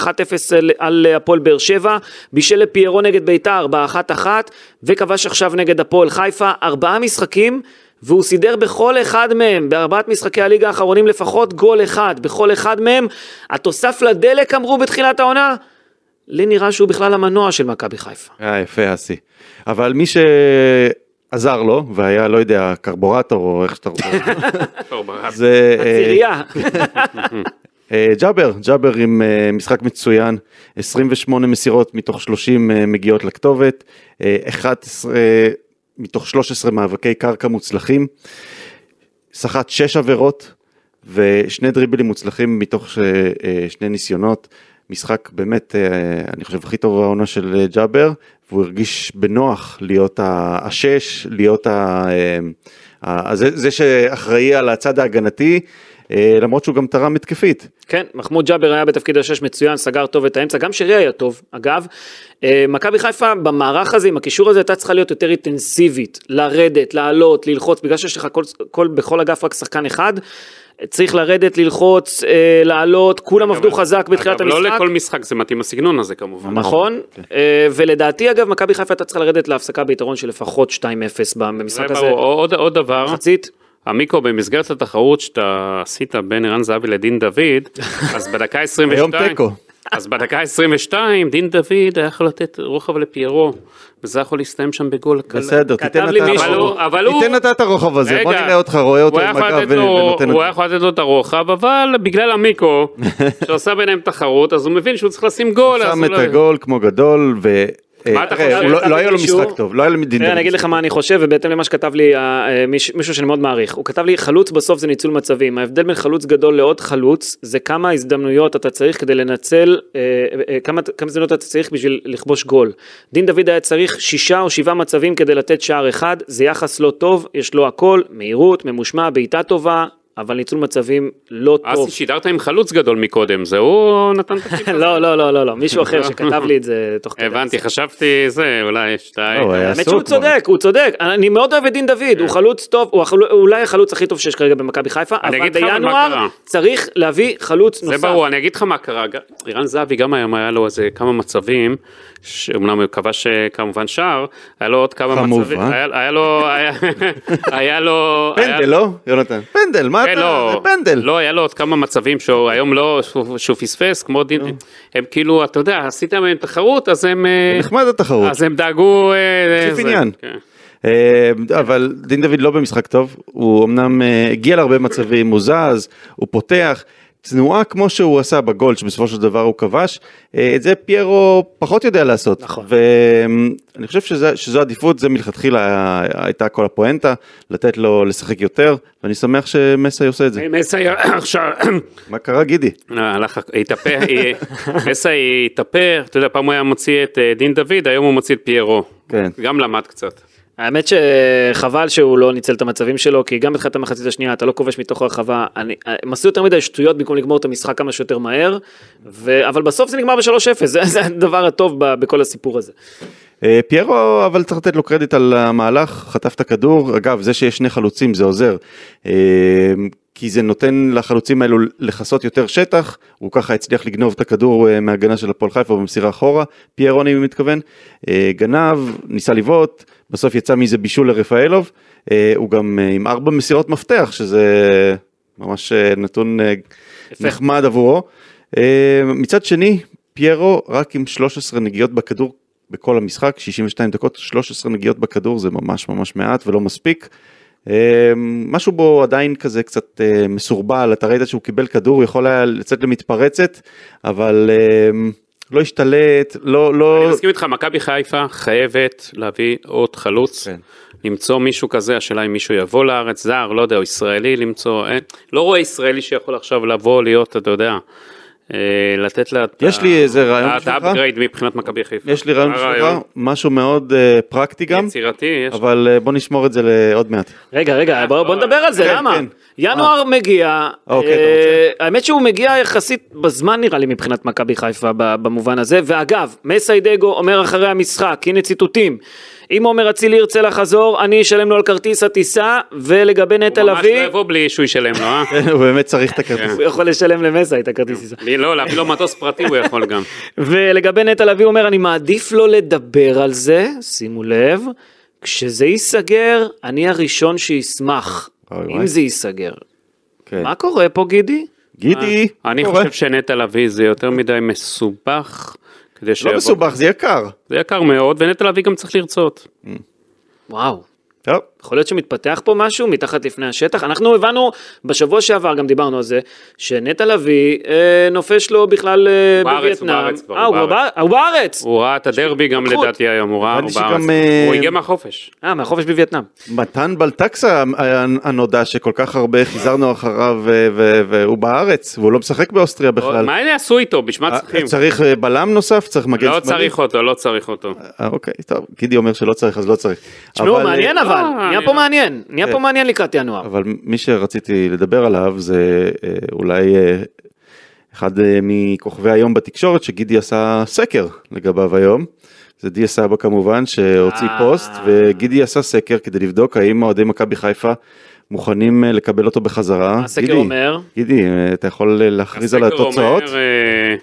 Speaker 2: על- על הפועל באר שבע, בישל לפיירו נגד ביתר ב-1-1, וכבש עכשיו נגד הפועל חיפה, ארבעה משחקים. והוא סידר בכל אחד מהם, בארבעת משחקי הליגה האחרונים לפחות, גול אחד. בכל אחד מהם, התוסף לדלק אמרו בתחילת העונה, לי נראה שהוא בכלל המנוע של מכבי חיפה.
Speaker 3: אה, יפה אסי. אבל מי שעזר לו, והיה, לא יודע, קרבורטור או איך שאתה רוצה,
Speaker 4: טוב, ברח.
Speaker 3: זה... אה,
Speaker 2: צירייה.
Speaker 3: אה, ג'אבר, ג'אבר עם אה, משחק מצוין, 28 מסירות מתוך 30 אה, מגיעות לכתובת, אה, 11 מתוך 13 מאבקי קרקע מוצלחים, סחט 6 עבירות ושני דריבלים מוצלחים מתוך אה, אה, שני ניסיונות, משחק באמת, אה, אני חושב, הכי טוב העונה של אה, ג'אבר, והוא הרגיש בנוח להיות ה- השש, להיות ה... אה, ה- זה, זה שאחראי על הצד ההגנתי, אה, למרות שהוא גם תרם התקפית.
Speaker 2: כן, מחמוד ג'אבר היה בתפקיד השש מצוין, סגר טוב את האמצע, גם שרי היה טוב, אגב. אה, מכבי חיפה במערך הזה, עם הקישור הזה, הייתה צריכה להיות יותר אינטנסיבית, לרדת, לעלות, ללחוץ, בגלל שיש לך כל, כל, בכל אגף רק שחקן אחד, צריך לרדת, ללחוץ, אה, לעלות, כולם עבדו חזק בתחילת
Speaker 4: אגב, לא
Speaker 2: המשחק.
Speaker 4: לכל כן. משחק זה מתאים הסגנון הזה כמובן.
Speaker 2: נכון, אה, ולדעתי אגב, מכבי חיפה הייתה צריכה לרדת להפסקה ביתרון של לפחות 2-0
Speaker 4: זה
Speaker 2: במשחק הזה.
Speaker 4: ברור. עוד- עוד דבר,
Speaker 2: מחצית,
Speaker 4: המיקרו במסגרת התחרות שאתה עשית בין ערן זהבי לדין
Speaker 3: *laughs*
Speaker 4: דוד, אז בדקה 22,
Speaker 3: היום תיקו.
Speaker 4: אז בדקה 22 דין דוד היה יכול לתת רוחב לפיירו, וזה יכול להסתיים שם בגול קל.
Speaker 3: בסדר,
Speaker 2: כתב
Speaker 3: תיתן
Speaker 2: לי
Speaker 3: אתה
Speaker 2: מישהו,
Speaker 3: הרוחב.
Speaker 4: אבל הוא-
Speaker 3: תיתן אתה את הרוחב הזה, בוא
Speaker 4: רגע,
Speaker 3: נראה אותך, רואה אותו
Speaker 4: הוא היה
Speaker 3: עם
Speaker 4: יכול
Speaker 3: הגב
Speaker 4: לתת לו-
Speaker 3: ונותן
Speaker 4: הוא היה
Speaker 3: אותו.
Speaker 4: יכול לתת לו את הרוחב, אבל בגלל
Speaker 3: *laughs*
Speaker 4: המיקרו, שעושה ביניהם תחרות, אז הוא מבין שהוא צריך לשים גול. אז
Speaker 3: שם
Speaker 4: הוא
Speaker 3: את
Speaker 4: לא-
Speaker 3: הגול כמו גדול, ו...
Speaker 4: מה
Speaker 3: אה,
Speaker 4: אתה
Speaker 3: תראה,
Speaker 4: חושב?
Speaker 3: הוא לא-
Speaker 2: כתב
Speaker 3: לא היה לו
Speaker 2: מישהו-
Speaker 3: משחק טוב, לא היה לו דין
Speaker 2: תראה,
Speaker 3: דוד.
Speaker 2: אני אגיד לך מה אני חושב, ובהתאם למה שכתב לי אה, אה, מיש- מישהו שאני מאוד מעריך. הוא כתב לי, חלוץ בסוף זה ניצול מצבים. ההבדל בין חלוץ גדול לעוד חלוץ, זה כמה הזדמנויות אתה צריך כדי לנצל, אה, אה, כמה כמה הזדמנויות אתה צריך בשביל לכבוש גול. דין דוד היה צריך שישה או שבעה מצבים כדי לתת שער אחד, זה יחס לא טוב, יש לו הכל, מהירות, ממושמע, בעיטה טובה, אבל ניצול מצבים לא טוב.
Speaker 4: אסי, שידרת עם חלוץ גדול מקודם, זה הוא נתן
Speaker 3: *laughs*
Speaker 4: את הטיפ הזה.
Speaker 2: *laughs* לא, לא, לא, לא, לא, מישהו אחר שכתב לי את זה תוך כדי.
Speaker 4: הבנתי, חשבתי זה, אולי שתיים.
Speaker 3: לא, הוא היה
Speaker 2: האמת שהוא
Speaker 3: עסוק כבר.
Speaker 2: צודק, הוא צודק, אני מאוד אוהב את דין דוד,
Speaker 4: כן.
Speaker 2: הוא חלוץ טוב, הוא החלו- אולי החלוץ הכי טוב שיש כרגע במכבי חיפה, אבל
Speaker 4: אגיד לך מה
Speaker 2: בינואר
Speaker 4: קרה.
Speaker 2: צריך להביא חלוץ
Speaker 4: זה
Speaker 2: נוסף.
Speaker 4: ברור, אני אגיד לך מה קרה, ג- ערן זהבי גם היום היה לו איזה כמה מצבים, שאומנם הוא כבש אה, כמובן שער, היה לו עוד כמה
Speaker 3: חמוב,
Speaker 4: מצבים,
Speaker 3: אה? *laughs*
Speaker 4: היה היה לו, היה- היה לו, היה-
Speaker 3: פנדל, לא? יונתן. פנדל, מה
Speaker 4: כנראה לא,
Speaker 3: לא פנדל.
Speaker 4: לא, היה לו עוד כמה מצבים שהוא היום לא, שהוא- שהוא פספס, כמו
Speaker 3: לא.
Speaker 4: דין, הם כאילו, אתה יודע, עשית מהם תחרות, אז הם, אה,
Speaker 3: נחמד התחרות.
Speaker 4: אז הם דאגו, אה,
Speaker 3: הוסיף
Speaker 4: זה,
Speaker 3: עניין.
Speaker 4: כן.
Speaker 3: אה, אבל דין דוד לא במשחק טוב, הוא אמנם אה, הגיע להרבה מצבים, הוא זז, הוא פותח, תנועה כמו שהוא עשה בגול שבסופו של דבר הוא כבש, אה, את זה פיירו פחות יודע לעשות.
Speaker 2: נכון.
Speaker 3: ואני חושב שזה, שזו עדיפות, זה מלכתחילה הייתה כל הפואנטה, לתת לו לשחק יותר, ואני שמח שמסי עושה את זה.
Speaker 4: הם מסייר אה, *coughs* עכשיו,
Speaker 3: מה קרה גידי?
Speaker 4: לא, הלך, התהפך, *coughs* היא- מסע התהפך, אתה יודע, פעם הוא היה מוציא את אה, דין דוד, היום הוא מוציא את פיירו.
Speaker 3: כן.
Speaker 4: גם למד קצת.
Speaker 2: האמת שחבל שהוא לא ניצל את המצבים שלו, כי גם בתחילת המחצית השנייה אתה לא כובש מתוך הרחבה, אני- הם עשו יותר מדי שטויות במקום לגמור את המשחק כמה שיותר מהר, ו... אבל בסוף זה נגמר ב-3-0, זה, *laughs* זה הדבר הטוב ב... בכל הסיפור הזה.
Speaker 3: אה, פיירו אבל צריך לתת לו קרדיט על המהלך, חטף את הכדור, אגב זה שיש שני חלוצים זה עוזר, אה, כי זה נותן לחלוצים האלו לכסות יותר שטח, הוא ככה הצליח לגנוב את הכדור אה, מהגנה של הפועל חיפה במסירה אחורה, פיירו אני מתכוון, אה, גנב, ניסה לבעוט, בסוף יצא מזה בישול לרפאלוב, אה, הוא גם אה, עם ארבע מסירות מפתח שזה ממש אה, נתון אה, נחמד עבורו. אה, מצד שני, פיירו רק עם 13 נגיעות בכדור בכל המשחק, 62 דקות, 13 נגיעות בכדור זה ממש ממש מעט ולא מספיק. אה, משהו בו עדיין כזה קצת אה, מסורבל, אתה ראית שהוא קיבל כדור, הוא יכול היה לצאת למתפרצת, אבל אה, לא השתלט, לא,
Speaker 4: אני
Speaker 3: לא...
Speaker 4: מסכים איתך, מכבי חיפה חייבת להביא עוד חלוץ,
Speaker 3: כן.
Speaker 4: למצוא מישהו כזה, השאלה אם מישהו יבוא לארץ, זר, לא יודע, או ישראלי, למצוא, אין, לא רואה ישראלי שיכול עכשיו לבוא, להיות, אתה יודע, אה, לתת לה את
Speaker 3: יש
Speaker 4: ה-
Speaker 3: לי איזה רעיון
Speaker 4: את
Speaker 3: בשבילך?
Speaker 4: האפגרייד מבחינת מכבי חיפה.
Speaker 3: יש לי רעיון בשבילך, משהו מאוד אה, פרקטי גם,
Speaker 4: יצירתי, יש.
Speaker 3: אבל אה, בוא נשמור את זה לעוד מעט. *laughs*
Speaker 2: רגע, רגע, בוא, בוא נדבר על זה,
Speaker 3: אה, כן,
Speaker 2: למה?
Speaker 3: כן.
Speaker 2: ינואר מגיע,
Speaker 3: אוקיי, אתה
Speaker 2: אה, האמת שהוא מגיע יחסית בזמן נראה לי מבחינת מכבי חיפה ב- במובן הזה, ואגב, מסיידגו אומר אחרי המשחק, הנה ציטוטים, אם עומר אצילי ירצה לחזור, אני אשלם לו על כרטיס הטיסה, ולגבי נטע
Speaker 4: הוא ממש לא
Speaker 2: לביא,
Speaker 4: יבוא בלי שהוא ישלם לו,
Speaker 3: *laughs*
Speaker 4: אה?
Speaker 3: הוא באמת צריך את הכרטיס.
Speaker 4: כן.
Speaker 2: הוא יכול לשלם למסע את הכרטיס טיסה.
Speaker 4: בלי- לא, להביא לו מטוס פרטי הוא יכול גם.
Speaker 2: ולגבי נטע לביא הוא אומר, אני מעדיף לא לדבר על זה, שימו לב, כשזה ייסגר, אני הראשון שישמח,
Speaker 3: אוי,
Speaker 2: אם
Speaker 3: וואי.
Speaker 2: זה ייסגר.
Speaker 3: כן.
Speaker 2: מה קורה פה גידי?
Speaker 3: גידי,
Speaker 4: אה, אני
Speaker 3: קורה?
Speaker 4: חושב שנטע לביא זה יותר מדי מסובך. כדי שיבוא.
Speaker 3: לא מסובך, זה יקר.
Speaker 4: זה יקר מאוד, ונטע לביא גם צריך לרצות.
Speaker 2: וואו.
Speaker 3: טוב,
Speaker 2: יכול להיות שמתפתח פה משהו מתחת לפני השטח. אנחנו הבנו, בשבוע שעבר גם דיברנו על זה, שנטע לביא אה, נופש לו בכלל אה,
Speaker 4: הוא בארץ,
Speaker 2: בווייטנאם.
Speaker 4: הוא בארץ כבר,
Speaker 2: אה,
Speaker 4: הוא
Speaker 2: הוא
Speaker 4: בארץ.
Speaker 2: בארץ. הוא בארץ.
Speaker 4: הוא ראה את הדרבי גם
Speaker 2: התפתחות.
Speaker 4: לדעתי היום, הוא ראה
Speaker 3: נראה לי
Speaker 4: הוא בארץ.
Speaker 3: שגם, אה,
Speaker 4: הוא הגיע מהחופש.
Speaker 2: אה, מהחופש בווייטנאם.
Speaker 3: מתן בלטקסה הנ- הנודע שכל כך הרבה חיזרנו אחריו אה, ו- ו- והוא בארץ והוא לא משחק באוסטריה בכלל.
Speaker 4: מה הם יעשו איתו? בשביל מה
Speaker 3: אה,
Speaker 4: צריכים?
Speaker 3: צריך אה, בלם נוסף, צריך מגן
Speaker 4: לא
Speaker 3: שמאלי.
Speaker 4: צריך אותו, לא צריך אותו.
Speaker 3: אה, אוקיי, טוב, גידי אומר שלא צריך אז לא צריך.
Speaker 2: תשמעו,
Speaker 3: אבל, אה,
Speaker 2: מעניין אבל.
Speaker 4: אה,
Speaker 2: נהיה
Speaker 4: אני-
Speaker 2: פה מעניין. נהיה פה
Speaker 3: אה.
Speaker 2: מעניין לקראת ינואר.
Speaker 3: אבל מי שרציתי לדבר עליו זה אה, אולי אה, אחד אה, מכוכבי היום בתקשורת שגידי עשה סקר לגביו היום. זה דיה סבא כמובן שהוציא
Speaker 2: אה.
Speaker 3: פוסט וגידי עשה סקר כדי לבדוק האם אוהדי מכבי חיפה מוכנים אה, לקבל אותו בחזרה.
Speaker 2: מה הסקר
Speaker 3: גידי,
Speaker 2: אומר?
Speaker 3: גידי, אה, אתה יכול אה, להכריז על
Speaker 4: הסקר
Speaker 3: התוצאות?
Speaker 4: אומר, אה,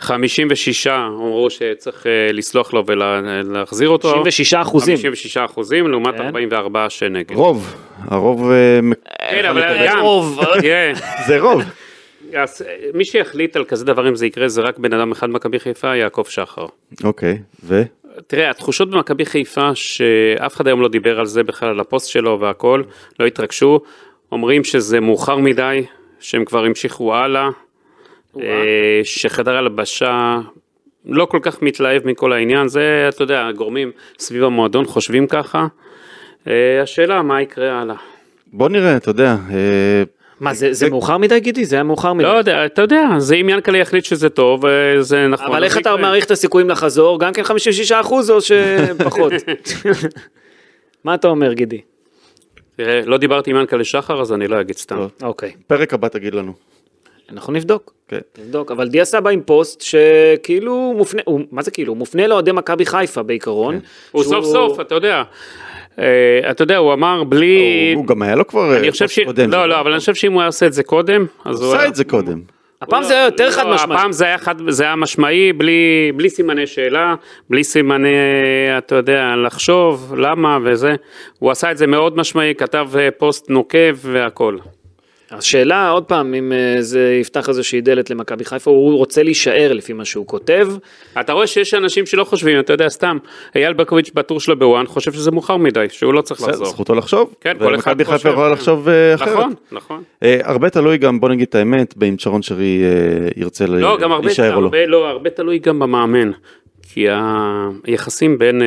Speaker 4: 56 אמרו שצריך אה, לסלוח לו ולהחזיר אותו.
Speaker 2: 96 אחוזים.
Speaker 4: 56 אחוזים לעומת
Speaker 2: כן.
Speaker 4: 44 שנגד.
Speaker 3: רוב, הרוב אה, מ-
Speaker 4: כן, אבל
Speaker 2: לקבל.
Speaker 4: גם,
Speaker 2: רוב.
Speaker 4: תראה,
Speaker 2: *laughs*
Speaker 3: זה רוב.
Speaker 4: אז, אה, מי שיחליט על כזה דבר אם זה יקרה זה רק בן אדם אחד מכבי חיפה, יעקב שחר.
Speaker 3: אוקיי, ו?
Speaker 4: תראה, התחושות במכבי חיפה, שאף אחד היום לא דיבר על זה בכלל, על הפוסט שלו והכל, לא התרגשו, אומרים שזה מאוחר מדי, שהם כבר המשיכו הלאה, אה, שחדר הלבשה לא כל כך מתלהב מכל העניין, זה, אתה יודע, הגורמים סביב המועדון חושבים ככה. אה, השאלה, מה יקרה הלאה?
Speaker 3: בוא נראה, אתה יודע, אה,
Speaker 2: מה, זה זה מאוחר מדי גידי? זה היה מאוחר מדי.
Speaker 4: לא יודע, אתה יודע, זה אם ינקלה יחליט שזה טוב, אה, זה נכון.
Speaker 2: אבל
Speaker 4: אז
Speaker 2: איך
Speaker 4: זה
Speaker 2: אתה
Speaker 4: יקרה.
Speaker 2: מעריך את הסיכויים לחזור? גם כן 56 אחוז
Speaker 4: *laughs*
Speaker 2: או שפחות? *laughs* מה אתה אומר גידי?
Speaker 4: תראה, לא דיברתי עם ינקלה שחר, אז אני לא אגיד סתם.
Speaker 3: טוב.
Speaker 2: אוקיי,
Speaker 3: פרק הבא תגיד לנו.
Speaker 2: אנחנו נבדוק.
Speaker 3: כן.
Speaker 2: נבדוק, אבל דיה סבא עם פוסט שכאילו הוא מופנה, הוא, מה זה כאילו? הוא מופנה לאוהדי מכבי חיפה בעיקרון.
Speaker 4: כן. הוא
Speaker 2: שהוא-
Speaker 4: סוף סוף, אתה יודע, אה, אתה יודע, הוא אמר בלי...
Speaker 3: הוא- הוא גם היה לו כבר אה,
Speaker 4: אני חושב
Speaker 3: פוסט
Speaker 4: ש...
Speaker 3: קודם.
Speaker 4: לא, לא, אבל אני חושב שאם הוא היה עושה את זה קודם, אז הוא...
Speaker 3: עשה
Speaker 4: היה-
Speaker 3: את זה קודם.
Speaker 2: הפעם זה היה יותר
Speaker 4: לא,
Speaker 2: חד משמעי.
Speaker 4: הפעם זה היה חד, זה היה משמעי, בלי, בלי סימני שאלה, בלי סימני, אתה יודע, לחשוב, למה וזה. הוא עשה את זה מאוד משמעי, כתב אה, פוסט נוקב והכל.
Speaker 2: השאלה, עוד פעם, אם אה, זה יפתח איזושהי דלת למכבי חיפה, הוא רוצה להישאר לפי מה שהוא כותב.
Speaker 4: אתה רואה שיש אנשים שלא חושבים, אתה יודע, סתם, אייל בקוביץ' בטור שלו בוואן חושב שזה מאוחר מדי, שהוא לא צריך
Speaker 3: בסדר,
Speaker 4: לחזור.
Speaker 3: זכותו לחשוב,
Speaker 4: כן, כל אחד
Speaker 3: ומכבי חיפה
Speaker 4: חושב.
Speaker 3: יכולה לחשוב אה, אחרת.
Speaker 4: נכון, נכון.
Speaker 3: אה, הרבה תלוי גם, בוא נגיד את האמת, באם שרון שרי אה, ירצה ל-
Speaker 4: לא, גם הרבה,
Speaker 3: להישאר או לא.
Speaker 4: הרבה, לא, הרבה תלוי גם במאמן, כי היחסים בין, אה,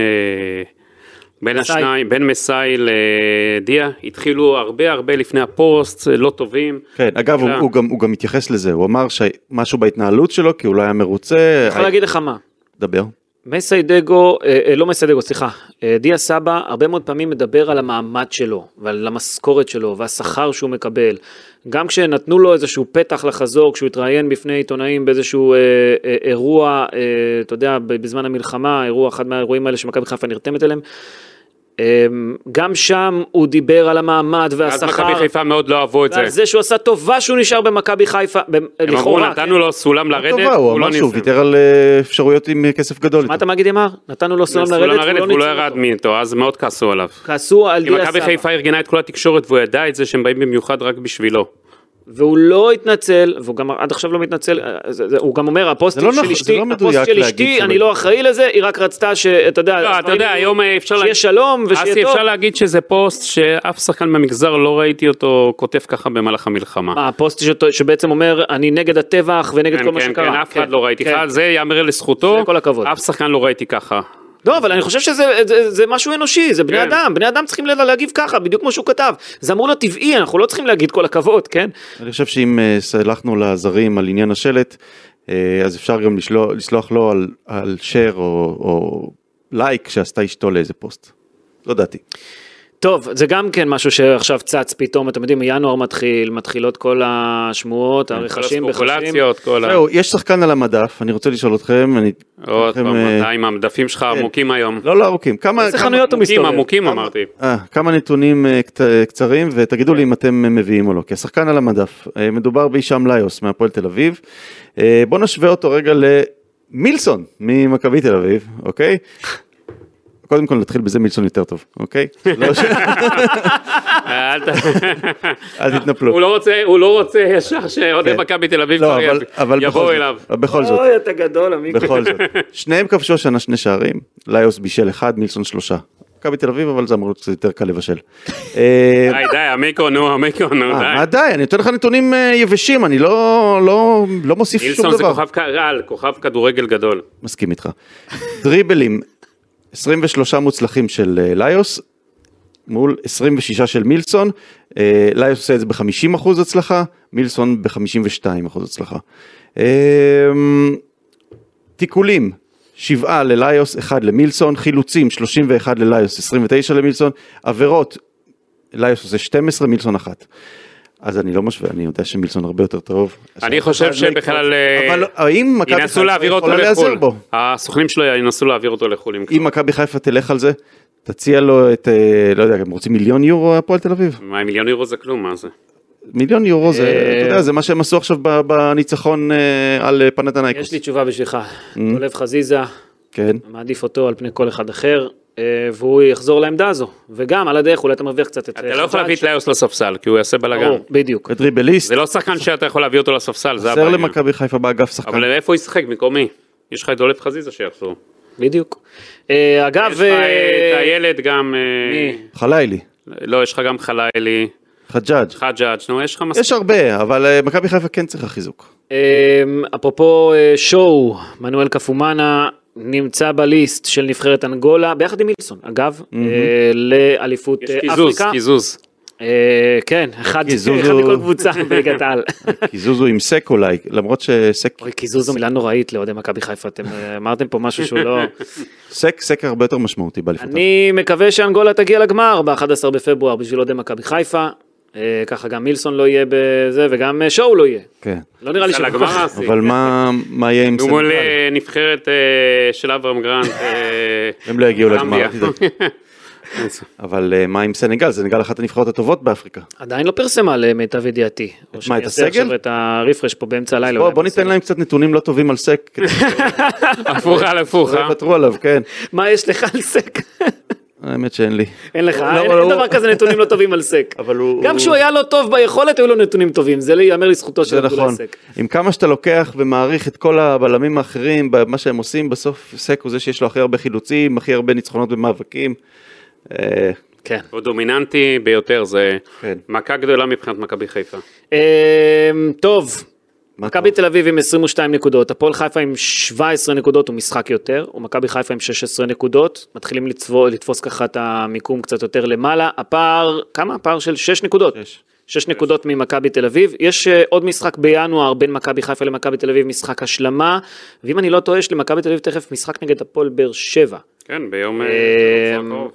Speaker 4: בין
Speaker 2: מסאי.
Speaker 4: השניים, בין מסאי לדיה, התחילו הרבה הרבה לפני הפוסט, אה, לא טובים.
Speaker 3: כן, אגב, הוא,
Speaker 4: אה.
Speaker 3: הוא, גם, הוא גם התייחס לזה, הוא אמר שמשהו בהתנהלות שלו, כי הוא לא היה מרוצה.
Speaker 2: אני יכול להגיד לך מה,
Speaker 3: דבר.
Speaker 2: מסיידגו, אה, אה, לא מסיידגו, סליחה, אה, דיה סבא הרבה מאוד פעמים מדבר על המעמד שלו ועל המשכורת שלו והשכר שהוא מקבל. גם כשנתנו לו איזשהו פתח לחזור, כשהוא התראיין בפני עיתונאים באיזשהו אה, אה, אירוע, אה, אתה יודע, ב- בזמן המלחמה, אירוע, אחד מהאירועים האלה שמכבי חיפה נרתמת אליהם, אה, גם שם הוא דיבר על המעמד
Speaker 4: אז
Speaker 2: והשכר.
Speaker 4: מכבי חיפה מאוד לא אהבו את
Speaker 2: ועל
Speaker 4: זה.
Speaker 2: זה שהוא עשה טובה שהוא נשאר במכבי חיפה, ב-
Speaker 4: הם אמרו,
Speaker 2: לכאורה, כן?
Speaker 4: נתנו לו סולם לרדת,
Speaker 3: טובה, הוא
Speaker 4: לא
Speaker 3: אמר שהוא
Speaker 4: ניסה.
Speaker 3: ויתר על אה, אפשרויות עם אה, כסף גדול.
Speaker 2: מה
Speaker 3: איתו.
Speaker 2: אתה מגיד אמר? נתנו לו סולם
Speaker 4: סולם
Speaker 2: לרדת,
Speaker 4: לרדת, והוא לא
Speaker 2: ניצל
Speaker 4: ירד
Speaker 2: אותו.
Speaker 4: מאיתו, אז מאוד כעסו עליו.
Speaker 2: כעסו על
Speaker 4: כי
Speaker 2: דיה
Speaker 4: מכבי
Speaker 2: סבא,
Speaker 4: חיפה ארגנה את כל התקשורת והוא ידע את זה שהם באים במיוחד רק בשבילו.
Speaker 2: והוא לא התנצל, והוא גם עד עכשיו לא מתנצל, אה, זה- זה- הוא גם אומר,
Speaker 3: זה
Speaker 2: הפוסטים
Speaker 3: לא
Speaker 2: של
Speaker 3: נכון,
Speaker 2: אשתי,
Speaker 3: זה לא
Speaker 2: הפוסט
Speaker 3: מדויק
Speaker 2: של
Speaker 3: להגיד
Speaker 2: אשתי,
Speaker 3: שלא.
Speaker 2: אני לא אחראי לזה, היא רק רצתה שאתה יודע,
Speaker 4: לא, אתה
Speaker 2: הדברים
Speaker 4: יודע,
Speaker 2: יהיו-
Speaker 4: היום אה, אפשר
Speaker 2: שיהיה שלום
Speaker 4: אסי,
Speaker 2: ושיהיה טוב.
Speaker 4: אפשר להגיד שזה פוסט שאף שחקן במגזר לא ראיתי אותו כותב ככה במהלך המלחמה.
Speaker 2: מה, הפוסט שת- שבעצם אומר, אני נגד הטבח ונגד כל
Speaker 4: כן,
Speaker 2: מה
Speaker 4: כן,
Speaker 2: שקרה.
Speaker 4: כן, אף אחד לא ראיתי
Speaker 2: כן.
Speaker 4: ככה, זה יאמר לזכותו,
Speaker 2: זה כל הכבוד.
Speaker 4: אף שחקן לא ראיתי ככה.
Speaker 2: לא, אבל אני חושב שזה זה- זה משהו אנושי, זה בני
Speaker 4: כן.
Speaker 2: אדם, בני אדם צריכים לה- להגיב ככה, בדיוק כמו שהוא כתב. זה אמור להיות טבעי, אנחנו לא צריכים להגיד כל הכבוד, כן?
Speaker 3: אני חושב שאם אה, סלחנו לזרים על עניין השלט, אה, אז אפשר גם לשלוח, לסלוח לו על, על share או, או לייק שעשתה אשתו לאיזה פוסט. לא דעתי.
Speaker 2: טוב, זה גם כן משהו שעכשיו צץ פתאום, אתם יודעים, ינואר מתחיל, מתחילות כל השמועות, הרכשים,
Speaker 4: כן, כל
Speaker 2: בחשים.
Speaker 4: הספקולציות, כל ה...
Speaker 3: זהו, יש שחקן על המדף, אני רוצה לשאול אתכם, אני...
Speaker 4: עוד
Speaker 3: אתכם,
Speaker 4: פעם,
Speaker 3: אה,
Speaker 4: אתה עם המדפים שלך עמוקים היום.
Speaker 3: לא, לא ארוכים. כמה...
Speaker 2: איזה
Speaker 3: כמה-
Speaker 2: כן. חנויות הוא
Speaker 4: עמוקים,
Speaker 2: מסתובב? *laughs*
Speaker 4: עמוקים אמרתי.
Speaker 3: אה, כמה נתונים אה, קט- אה, קצרים ותגידו לי אם אתם אה, מביאים או לא, כי השחקן על המדף, אה, מדובר בהישאם ליוס מהפועל תל אביב. אה, בוא נשווה אותו רגע למילסון ממכבי תל אביב, אוקיי? קודם כל נתחיל בזה מילסון יותר טוב, אוקיי? לא ש-
Speaker 4: אה, אל ת-
Speaker 3: אל תתנפלו.
Speaker 4: הוא לא רוצה, הוא לא רוצה ישר שאוהדי
Speaker 3: כן.
Speaker 4: מכבי תל אביב
Speaker 3: לא,
Speaker 4: כבר
Speaker 3: אבל- אבל בכל
Speaker 4: יבואו
Speaker 3: זאת,
Speaker 4: אליו.
Speaker 3: אבל בכל זאת,
Speaker 2: אוי, אתה גדול, עמיקו.
Speaker 3: בכל זאת. שניהם כבשו השנה שני שערים, ליוס בישל אחד, מילסון שלושה. מכבי תל אביב, אבל זה אמור להיות קצת יותר קל לבשל. אה,
Speaker 4: די, די, עמיקו, נו, עמיקו, נו,
Speaker 3: אה,
Speaker 4: די.
Speaker 3: מה די? אני נותן לך נתונים אה, יבשים, אני לא, לא, לא מוסיף שום דבר.
Speaker 4: אילסון זה כוכב קהל, כוכב כדורגל גדול.
Speaker 3: מסכים איתך. דריבלים, 23 מוצלחים של אה, ליוס, מול 26 של מילסון, אה, ליוס עושה את זה ב-50 אחוז הצלחה, מילסון ב-52 אחוז הצלחה. אה, תיקולים, שבעה לליוס, אחד למילסון, חילוצים, 31 לליוס, 29 למילסון, עבירות, ליוס עושה 12, מילסון אחת. אז אני לא משווה, אני יודע שמילסון הרבה יותר טוב.
Speaker 4: אני חושב
Speaker 3: אבל-
Speaker 4: שבכלל, אה,
Speaker 3: אבל האם מכבי
Speaker 4: ינסו
Speaker 3: חיפה
Speaker 4: להעביר אותו
Speaker 3: יכולה להיעזר
Speaker 4: לחו"ל.
Speaker 3: בו?
Speaker 4: הסוכנים שלו ינסו להעביר אותו לחו"ל. אם
Speaker 3: אם מכבי חיפה תלך על זה, תציע לו את, אה, לא יודע, הם רוצים מיליון יורו הפועל תל אביב?
Speaker 4: כבר. מה, מיליון אירו זה כלום, מה זה?
Speaker 3: מיליון יורו זה,
Speaker 2: אה,
Speaker 3: אתה יודע, זה מה שהם עשו עכשיו ב- בניצחון אה, על אה, פנתנייקוס.
Speaker 2: יש לי תשובה בשבילך.
Speaker 3: Mm.
Speaker 2: דולב חזיזה,
Speaker 3: כן,
Speaker 2: מעדיף אותו על פני כל אחד אחר, אה, והוא יחזור לעמדה הזו. וגם, על הדרך, אולי אתה מרוויח קצת את... אה,
Speaker 4: אתה לא יכול להביא את ליוס לספסל, כי הוא יעשה בלאגן.
Speaker 2: ברור, בדיוק.
Speaker 3: ודריבליסט,
Speaker 4: זה לא שחקן שאתה יכול להביא אותו לספסל, זה
Speaker 3: חסר
Speaker 4: הבעיה.
Speaker 3: למכבי חיפה באגף שחקן.
Speaker 4: אבל איפה הוא ישחק? במקום מי? יש לך את דולף חזיזה שיחזור.
Speaker 2: בדיוק. אה, אגב,
Speaker 4: יש לך
Speaker 2: אה,
Speaker 4: את הילד גם... אה,
Speaker 2: מי?
Speaker 3: חלילי,
Speaker 4: לא, יש לך גם חלילי,
Speaker 3: חג'אג'.
Speaker 4: חג'אג', נו, יש לך מספיק.
Speaker 3: יש הרבה, אבל אה, מכבי חיפה כן צריכה
Speaker 2: *laughs*
Speaker 3: חיזוק.
Speaker 2: אמ, אפרופו אה, שואו, מנואל קפומאנה נמצא בליסט של נבחרת אנגולה, ביחד עם מילסון, אגב, אה, לאליפות
Speaker 4: יש
Speaker 2: אה,
Speaker 4: קיזוז,
Speaker 2: אפריקה.
Speaker 4: קיזוז.
Speaker 2: אה, כן, אחד
Speaker 3: קיזוז
Speaker 2: אחד
Speaker 3: הוא-
Speaker 2: מכל קבוצה בליגת
Speaker 3: *laughs*
Speaker 2: העל.
Speaker 3: כי זוזו עם סק אולי, למרות שסק,
Speaker 2: אוי, קיזוז זו מילה נוראית לאוהדי מכבי חיפה, אתם אה, אמרתם פה משהו שהוא
Speaker 3: *laughs*
Speaker 2: לא...
Speaker 3: סק, סק הרבה יותר משמעותי באליפות.
Speaker 2: אני מקווה שאנגולה תגיע לגמר ב-11 בפברואר בשביל אוהדי מכבי חיפה, אה, ככה גם מילסון לא יהיה בזה וגם אה, שואו לא יהיה.
Speaker 3: כן.
Speaker 2: לא נראה לי ש...
Speaker 4: יאללה, גמר אסי.
Speaker 3: אבל מה, מה יהיה עם
Speaker 4: הוא מול
Speaker 3: סנגל?
Speaker 4: אה, נבחרת אה, של אברהם גרנט. אה,
Speaker 3: *laughs* הם לא יגיעו לגמר,
Speaker 4: קולומביה.
Speaker 3: אל תדאג. אבל אה, מה עם סנגל? סנגל אחת הנבחרות הטובות באפריקה.
Speaker 2: *laughs* עדיין לא פרסמה למיטב ידיעתי. או שאני
Speaker 3: את
Speaker 2: אעשה
Speaker 3: הסגל?
Speaker 2: עכשיו את הרפרש פה באמצע הלילה.
Speaker 3: בוא,
Speaker 2: אולי
Speaker 3: בוא
Speaker 2: נעשה.
Speaker 3: ניתן להם קצת נתונים לא טובים על סק,
Speaker 2: *laughs*
Speaker 3: כדי
Speaker 4: *laughs* הפוך על הפוך,
Speaker 3: שלא
Speaker 4: אה?
Speaker 3: יוותרו עליו, כן.
Speaker 2: מה יש לך על סק? *laughs*
Speaker 3: האמת שאין לי.
Speaker 2: אין לך,
Speaker 3: לא,
Speaker 2: אין
Speaker 3: אבל
Speaker 2: אין
Speaker 3: הוא-
Speaker 2: דבר כזה נתונים לא טובים על סק.
Speaker 3: אבל הוא-
Speaker 2: גם
Speaker 3: הוא-
Speaker 2: כשהוא היה לא טוב ביכולת, היו לו נתונים טובים, זה ייאמר לזכותו של
Speaker 3: זה
Speaker 2: אבדולאי
Speaker 3: נכון.
Speaker 2: סק.
Speaker 3: עם כמה שאתה לוקח ומעריך את כל הבלמים האחרים, מה שהם עושים, בסוף סק הוא זה שיש לו הכי הרבה חילוצים, הכי הרבה ניצחונות במאבקים. אה,
Speaker 2: כן.
Speaker 4: הוא דומיננטי ביותר, זה
Speaker 3: כן.
Speaker 4: מכה גדולה מבחינת מכבי חיפה.
Speaker 2: אמ, טוב,
Speaker 3: מה
Speaker 2: מכבי
Speaker 3: טוב.
Speaker 2: תל אביב עם 22 נקודות, הפועל חיפה עם 17 נקודות, הוא משחק יותר, ומכבי חיפה עם 16 נקודות, מתחילים לצבו, לתפוס ככה את המיקום קצת יותר למעלה, הפער, כמה? הפער של 6 נקודות.
Speaker 3: שש.
Speaker 2: 6 נקודות ממכבי תל אביב, יש אה, עוד משחק בינואר בין מכבי חיפה למכבי תל אביב, משחק השלמה, ואם אני לא טועה, יש למכבי תל אביב תכף משחק נגד הפועל באר שבע.
Speaker 4: כן, ביום... אה,
Speaker 2: אה,
Speaker 4: הקרוב.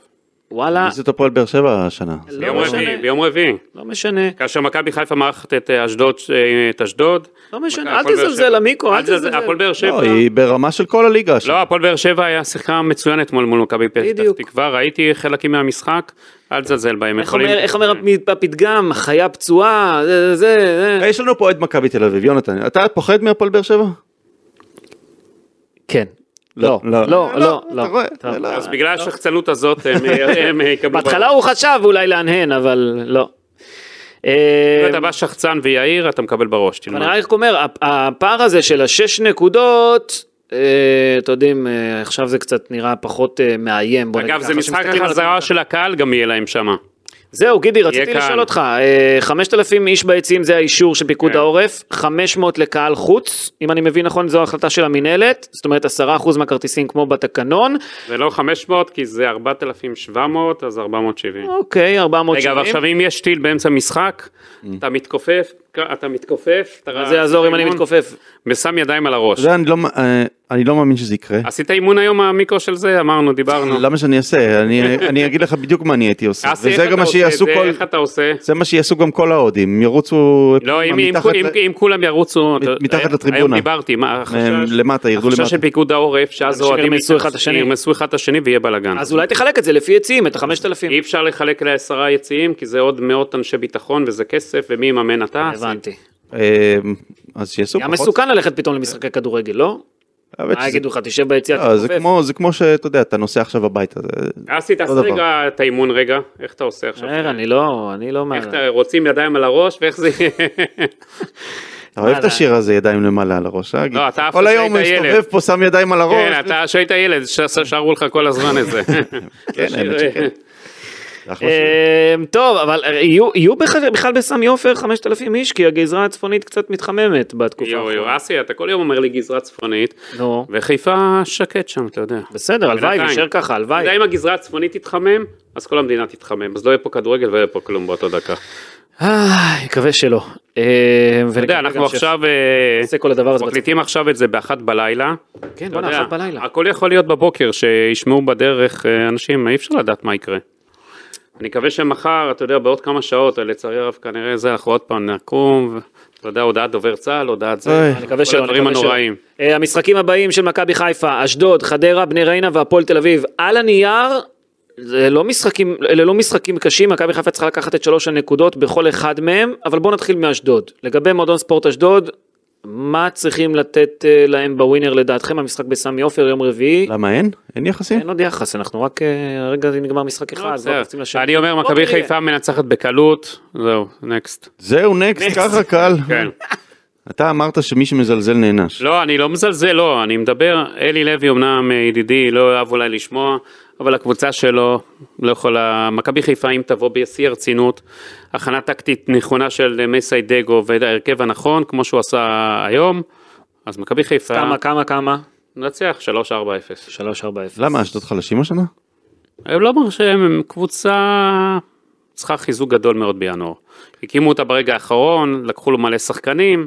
Speaker 2: וואלה,
Speaker 3: מי זה את הפועל באר שבע השנה?
Speaker 2: לא
Speaker 4: ביום רביעי,
Speaker 2: משנה.
Speaker 4: ביום רביעי.
Speaker 2: לא משנה.
Speaker 4: כאשר מכבי חיפה מארחת את אה, אשדוד, אה, את אשדוד.
Speaker 2: לא משנה,
Speaker 4: מכבי-
Speaker 2: אל
Speaker 4: הפועל באר
Speaker 2: תזלזל,
Speaker 4: שבע.
Speaker 2: עמיקו, אל
Speaker 4: תזלזל,
Speaker 2: תזלזל.
Speaker 4: הפועל באר
Speaker 3: לא,
Speaker 4: שבע.
Speaker 3: היא ברמה של כל הליגה.
Speaker 4: לא, הפועל באר שבע היה שיחה מצוינת מול מול מכבי פתח
Speaker 2: בדיוק.
Speaker 4: תקווה, ראיתי חלקים מהמשחק, אל תזלזל בהם.
Speaker 2: איך אומר- איך אומר הפ- הפתגם, חיה פצועה, זה, זה, זה.
Speaker 3: אה, יש לנו פה אוהד מכבי תל אביב, יונתן, אתה פוחד מהפועל באר שבע?
Speaker 2: כן. לא,
Speaker 3: לא,
Speaker 2: לא,
Speaker 3: לא.
Speaker 2: לא,
Speaker 3: אה,
Speaker 2: לא.
Speaker 3: לא, אתה רואה,
Speaker 2: טוב.
Speaker 3: זה לא-
Speaker 4: אז בגלל השחצנות הזאת הם
Speaker 2: *laughs*
Speaker 4: הם יקבלו...
Speaker 2: בהתחלה הוא חשב אולי להנהן, אבל לא.
Speaker 4: אם
Speaker 2: אה,
Speaker 4: אתה בא שחצן ויעיר, אתה מקבל בראש,
Speaker 2: אבל
Speaker 4: תלמד.
Speaker 2: נראה לי איך אומר, הפ- הפער הזה של השש נקודות, אה, אתם יודעים, אה, עכשיו זה קצת נראה פחות אה, מאיים. בוא נגיד
Speaker 4: אגב, זה
Speaker 2: ככה,
Speaker 4: משחק
Speaker 2: כשמסתכלים על
Speaker 4: החזרה
Speaker 2: התמונה.
Speaker 4: של הקהל, גם יהיה להם שמה.
Speaker 2: זהו, גידי, רציתי
Speaker 4: קהל.
Speaker 2: לשאול אותך, אה, 5,000 איש ביציעים זה האישור של פיקוד
Speaker 4: כן.
Speaker 2: העורף, 500 לקהל חוץ, אם אני מבין נכון, זו החלטה של המינהלת, זאת אומרת 10% מהכרטיסים כמו בתקנון,
Speaker 4: זה לא 500, כי זה 4,700, אז 470.
Speaker 2: אוקיי, 470.
Speaker 4: רגע, אבל עכשיו אם יש טיל באמצע משחק,
Speaker 3: Mm.
Speaker 4: אתה מתכופף, אתה מתכופף, אתה
Speaker 2: אז זה יעזור אם אני
Speaker 4: אימון,
Speaker 2: מתכופף.
Speaker 4: ושם ידיים על הראש.
Speaker 3: אתה יודע, אני לא מ- אה, אני לא מאמין שזה יקרה.
Speaker 4: עשית אימון היום המיקרו של זה? אמרנו, דיברנו.
Speaker 3: למה שאני אעשה?
Speaker 4: *laughs*
Speaker 3: אני- אני אגיד לך בדיוק מה אני הייתי עושה.
Speaker 4: אסי, איך
Speaker 3: לא. וזה
Speaker 4: אתה
Speaker 3: גם מה
Speaker 4: עושה את
Speaker 3: שיעשו
Speaker 4: זה?
Speaker 3: כל...
Speaker 4: איך אתה עושה?
Speaker 3: זה מה שיעשו גם כל ההודים, הם ירוצו
Speaker 4: לא, אם- אם-
Speaker 3: מתחת
Speaker 4: אם-
Speaker 3: ל-
Speaker 4: אם כולם ירוצו...
Speaker 3: מת- מתחת
Speaker 4: היום-
Speaker 3: לטריבונה.
Speaker 4: היום דיברתי, מה החשש?
Speaker 3: מהם למטה, ירדו
Speaker 4: החשש
Speaker 3: למטה.
Speaker 4: של פיקוד העורף, שאז
Speaker 2: אנשים
Speaker 4: אוהדים
Speaker 2: ירמסו אחד את השני.
Speaker 4: ירמסו אחד את השני ויהיה בלאגן.
Speaker 2: אז אולי תחלק את זה לפי יציעים, את ה-5,000.
Speaker 4: אי אפשר לחלק לעשרה יציאים, כי זה עוד מאות אנשי ביטחון וזה כסף, ומי יממן אתה?
Speaker 2: הבנתי.
Speaker 3: אה, אז שיעשו
Speaker 2: היה
Speaker 3: פחות.
Speaker 2: מסוכן ללכת פתאום למשחקי כדורגל, לא?
Speaker 3: האמת
Speaker 2: מה
Speaker 3: שזה-
Speaker 2: יגידו לך, תשב ביציע,
Speaker 4: אה,
Speaker 3: לא, זה
Speaker 2: תתכופף.
Speaker 3: כמו- זה כמו שאתה יודע, אתה נוסע עכשיו הביתה. זה-
Speaker 4: אסי, תעשה
Speaker 3: אותו דבר.
Speaker 4: רגע את האימון רגע, איך אתה עושה עכשיו?
Speaker 2: מהר, אני לא, אני לא מה...
Speaker 4: איך אתה, רוצים ידיים על הראש, ואיך זה...
Speaker 3: אתה אוהב את
Speaker 2: וואלה.
Speaker 3: השיר הזה, ידיים למעלה על הראש, אה?
Speaker 4: לא, אתה אף
Speaker 3: כל
Speaker 4: אחד
Speaker 3: היום הוא
Speaker 4: שהיית
Speaker 3: הסתובב
Speaker 4: ילד.
Speaker 3: פה, שם ידיים על הראש.
Speaker 4: כן, אתה, כשהיית ילד, ש- שרו לך כל הזמן את אה, זה. אה,
Speaker 3: כן, האמת שכן. זה אחלה שיר.
Speaker 2: אמ, טוב, אבל יהיו- יהיו בכלל בכלל בסמי עופר 5,000 איש, כי הגזרה הצפונית קצת מתחממת בתקופה
Speaker 4: יואו, יואו,
Speaker 2: האחרונה.
Speaker 4: אסי, אתה כל יום אומר לי גזרה צפונית,
Speaker 2: נו,
Speaker 4: וחיפה שקט שם, אתה יודע.
Speaker 2: בסדר, הלוואי,
Speaker 4: בינתיים.
Speaker 2: נשאר ככה,
Speaker 4: אתה יודע,
Speaker 2: הלוואי.
Speaker 4: אם הגזרה הצפונית תתחמם, אז כל המדינה תתחמם, אז לא יהיה פה כדורגל ולא יהיה פה כלום באותה דקה. אתה
Speaker 2: אה, נקווה שלא. אתה
Speaker 4: יודע, אנחנו עכשיו... אה,
Speaker 2: נעשה כל הדבר הזה.
Speaker 4: מקליטים עכשיו את זה באחת בלילה.
Speaker 2: כן,
Speaker 4: אתה
Speaker 2: בוא'נה,
Speaker 4: יודע,
Speaker 2: אחת בלילה.
Speaker 4: הכל יכול להיות בבוקר, שישמעו בדרך אה, אנשים, אי אפשר לדעת מה יקרה. אני מקווה שמחר, אתה יודע, בעוד כמה שעות, לצערי הרב, כנראה זה, אנחנו עוד פעם נקום, ו- אתה יודע, הודעת דובר צה"ל, הודעת זה,
Speaker 3: אוי.
Speaker 2: אני מקווה שלא,
Speaker 4: כל הדברים
Speaker 2: אני מקווה
Speaker 4: הנוראים.
Speaker 2: שלא. אה, המשחקים הבאים של מכבי חיפה, אשדוד, חדרה, בני ריינה והפועל תל אביב, על הנייר, זה לא משחקים, אלה לא משחקים קשים, מכבי חיפה צריכה לקחת את שלוש הנקודות בכל אחד מהם, אבל בואו נתחיל מאשדוד. לגבי מועדון ספורט אשדוד, מה צריכים לתת אה, להם בווינר לדעתכם, המשחק בסמי עופר יום רביעי?
Speaker 3: למה אין? אין יחסים?
Speaker 2: אין עוד יחס, אנחנו רק, אה, רגע זה נגמר משחק אחד,
Speaker 4: לא,
Speaker 2: אז
Speaker 4: בסדר.
Speaker 2: בואו נקפצים לשני.
Speaker 4: אני אומר, מכבי
Speaker 2: בוא נראה.
Speaker 4: חיפה מנצחת בקלות, זהו, נקסט.
Speaker 3: זהו, נקסט, ככה קל.
Speaker 4: כן.
Speaker 3: אתה אמרת שמי שמזלזל נענש.
Speaker 4: לא, אני לא מזלזל, לא, אני מדבר, אלי לוי אמנם אה, ידידי, לא אוהב אולי לשמוע, אבל הקבוצה שלו לא יכולה, מכבי חיפה אם תבוא בשיא הרצינות, הכנה טקטית נכונה של אה, מסי דגו וההרכב הנכון, כמו שהוא עשה היום, אז מכבי חיפה,
Speaker 2: כמה, כמה, כמה?
Speaker 4: נצח 3-4-0.
Speaker 2: 3-4-0.
Speaker 3: למה, אשדוד חלשים השנה?
Speaker 4: הם לא מרשים, הם קבוצה צריכה חיזוק גדול מאוד בינואר. הקימו אותה ברגע האחרון, לקחו לו מלא שחקנים.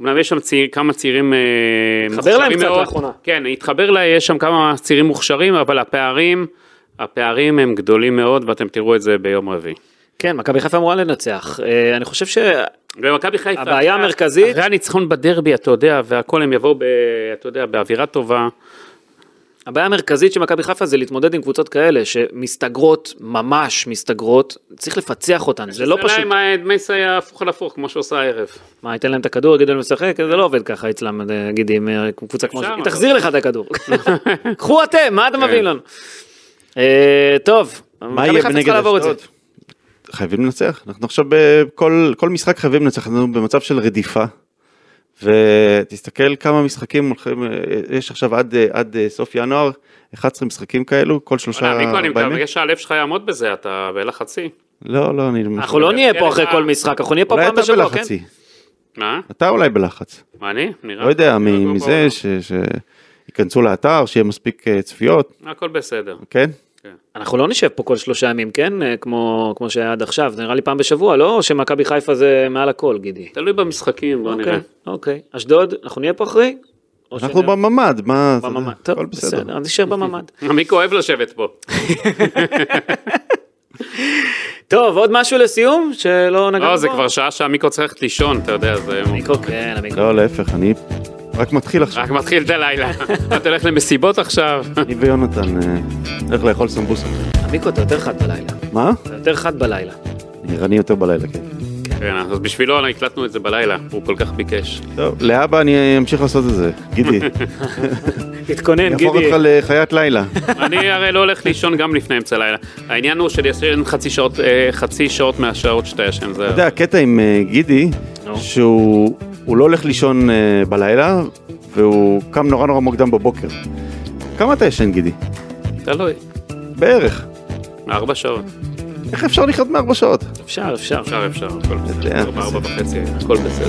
Speaker 4: אמנם יש שם צעיר, כמה צעירים אה, מוכשרים מאוד.
Speaker 2: להם קצת לאחרונה.
Speaker 4: כן, התחבר לה, יש שם כמה צעירים מוכשרים, אבל הפערים, הפערים הם גדולים מאוד, ואתם תראו את זה ביום רביעי.
Speaker 2: כן, מכבי חיפה אמורה לנצח. אה, אני חושב ש...
Speaker 4: ומכבי חיפה,
Speaker 2: הבעיה
Speaker 4: אחרי-
Speaker 2: המרכזית-
Speaker 4: אחרי הניצחון בדרבי, אתה יודע, והכל הם יבואו, ב, אתה יודע, באווירה טובה.
Speaker 2: הבעיה המרכזית של מכבי חיפה זה להתמודד עם קבוצות כאלה שמסתגרות, ממש מסתגרות, צריך לפצח אותן, זה לא פשוט.
Speaker 4: השאלה אם מסי היה הפוך על הפוך, כמו שעושה הערב.
Speaker 2: מה, ייתן להם את הכדור, יגידו להם לשחק? זה לא עובד ככה אצלם, אה, נגיד עם אה, קבוצה כמו ש...
Speaker 4: אפשר, *laughs*
Speaker 2: היא
Speaker 4: אבל-
Speaker 2: תחזיר לך את הכדור. קחו אתם, מה אתם מביאים לנו? אה, טוב,
Speaker 3: כן. מה
Speaker 2: מכבי
Speaker 3: יהיה
Speaker 2: חיפה
Speaker 3: בנגד
Speaker 2: צריכה לעבור את זה.
Speaker 3: אשדוד? חייבים לנצח, אנחנו עכשיו בכל כל משחק חייבים לנצח, אנחנו במצב של רדיפה. ותסתכל כמה משחקים הולכים, אה, יש עכשיו עד, אה, עד אה, סוף ינואר, 11 משחקים כאלו, כל שלושה
Speaker 4: וואלה, מיקו, אני
Speaker 3: בימים.
Speaker 4: מקווה שהלב שלך יעמוד בזה, אתה בלחצי.
Speaker 3: לא, לא, אני...
Speaker 2: אנחנו לא נהיה פה אחרי
Speaker 4: אה,
Speaker 2: כל משחק, אנחנו נהיה פה
Speaker 3: אולי
Speaker 2: פעם
Speaker 3: אתה
Speaker 2: בשבוע, כן? אה,
Speaker 3: בלחצי,
Speaker 4: מה?
Speaker 3: אתה אולי בלחץ.
Speaker 4: מה אני? נראה?
Speaker 3: לא יודע,
Speaker 4: נראה כמו
Speaker 3: מ- מזה
Speaker 4: בעולם.
Speaker 3: ש- שייכנסו לאתר, שיהיה מספיק אה, צפיות,
Speaker 4: הכל בסדר.
Speaker 3: כן?
Speaker 2: אנחנו לא נשב פה כל שלושה ימים, כן? אה, כמו כמו שהיה עד עכשיו, זה נראה לי פעם בשבוע, לא? או שמכבי חיפה זה מעל הכל, גידי.
Speaker 4: תלוי במשחקים, בוא נראה. *laughs*
Speaker 2: אוקיי, אוקיי. אשדוד, אנחנו נהיה פה אחרי? או
Speaker 3: אנחנו
Speaker 2: שנ-
Speaker 3: בממ"ד, מה... אתה יודע,
Speaker 2: בממ"ד. טוב,
Speaker 3: הכל אוקיי.
Speaker 2: בסדר, אז נשאר בממ"ד.
Speaker 4: מיקו אוהב לשבת פה.
Speaker 2: טוב, עוד משהו לסיום? שלא נגענו בו?
Speaker 4: לא, זה כבר שעה שהמיקרו צריך ללכת לישון, אתה יודע, זה...
Speaker 2: המיקרו, כן, המיקרו.
Speaker 3: לא, להפך, אני רק מתחיל עכשיו.
Speaker 4: רק מתחיל את הלילה. *laughs* אתה הולך למסיבות עכשיו? *laughs*
Speaker 3: אני ויונתן אה, נלך לאכול סמבוסה.
Speaker 2: המיקרו, אתה יותר חד בלילה.
Speaker 3: מה?
Speaker 2: אתה יותר חד בלילה.
Speaker 3: אני ערני יותר בלילה, כן.
Speaker 4: כן, אז בשבילו הקלטנו את זה בלילה, הוא כל כך ביקש. *laughs*
Speaker 3: טוב, להבא אני אמשיך לעשות את זה. *laughs* גידי,
Speaker 2: תתכונן,
Speaker 3: אני אהפוך
Speaker 2: גידי.
Speaker 3: אותך לחיית *laughs* לילה.
Speaker 4: אני הרי לא הולך לישון גם לפני אמצע הלילה. העניין הוא שלישן חצי שעות, אה, חצי שעות מהשעות שאתה ישן, זה...
Speaker 3: אתה יודע, הקטע עם אה, גידי,
Speaker 2: נו.
Speaker 3: שהוא הוא לא הולך לישון אה, בלילה, והוא קם נורא נורא מוקדם בבוקר. כמה אתה ישן, גידי?
Speaker 4: תלוי.
Speaker 3: בערך.
Speaker 4: ארבע שעות.
Speaker 3: איך אפשר לחיות מארבע שעות?
Speaker 2: אפשר, אפשר.
Speaker 4: אפשר, אפשר, הכל
Speaker 3: יודע.
Speaker 4: בסדר. ארבע, ארבע וחצי, הכל בסדר.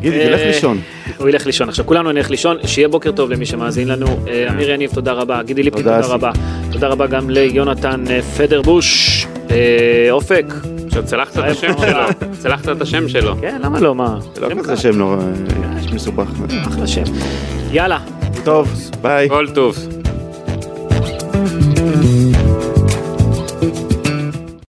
Speaker 3: גידי,
Speaker 2: אה,
Speaker 3: תלך לישון.
Speaker 2: הוא ילך לישון עכשיו, כולנו נלך לישון, שיהיה בוקר טוב למי שמאזין לנו. אה, אמיר יניב, תודה רבה, גידי ליפקין,
Speaker 3: תודה,
Speaker 2: תודה
Speaker 3: אסי.
Speaker 2: רבה. תודה רבה גם ליונתן אה, פדרבוש, אה, אופק.
Speaker 4: עכשיו צלחת את השם שלו, צלחת את השם שלו.
Speaker 2: כן, למה לא, מה?
Speaker 3: זה לא
Speaker 2: שם
Speaker 3: כזה
Speaker 2: קל,
Speaker 3: שם נורא אה, שם מסובך.
Speaker 2: אחלה שם. יאללה,
Speaker 3: טוב, ביי.
Speaker 4: כל טוב.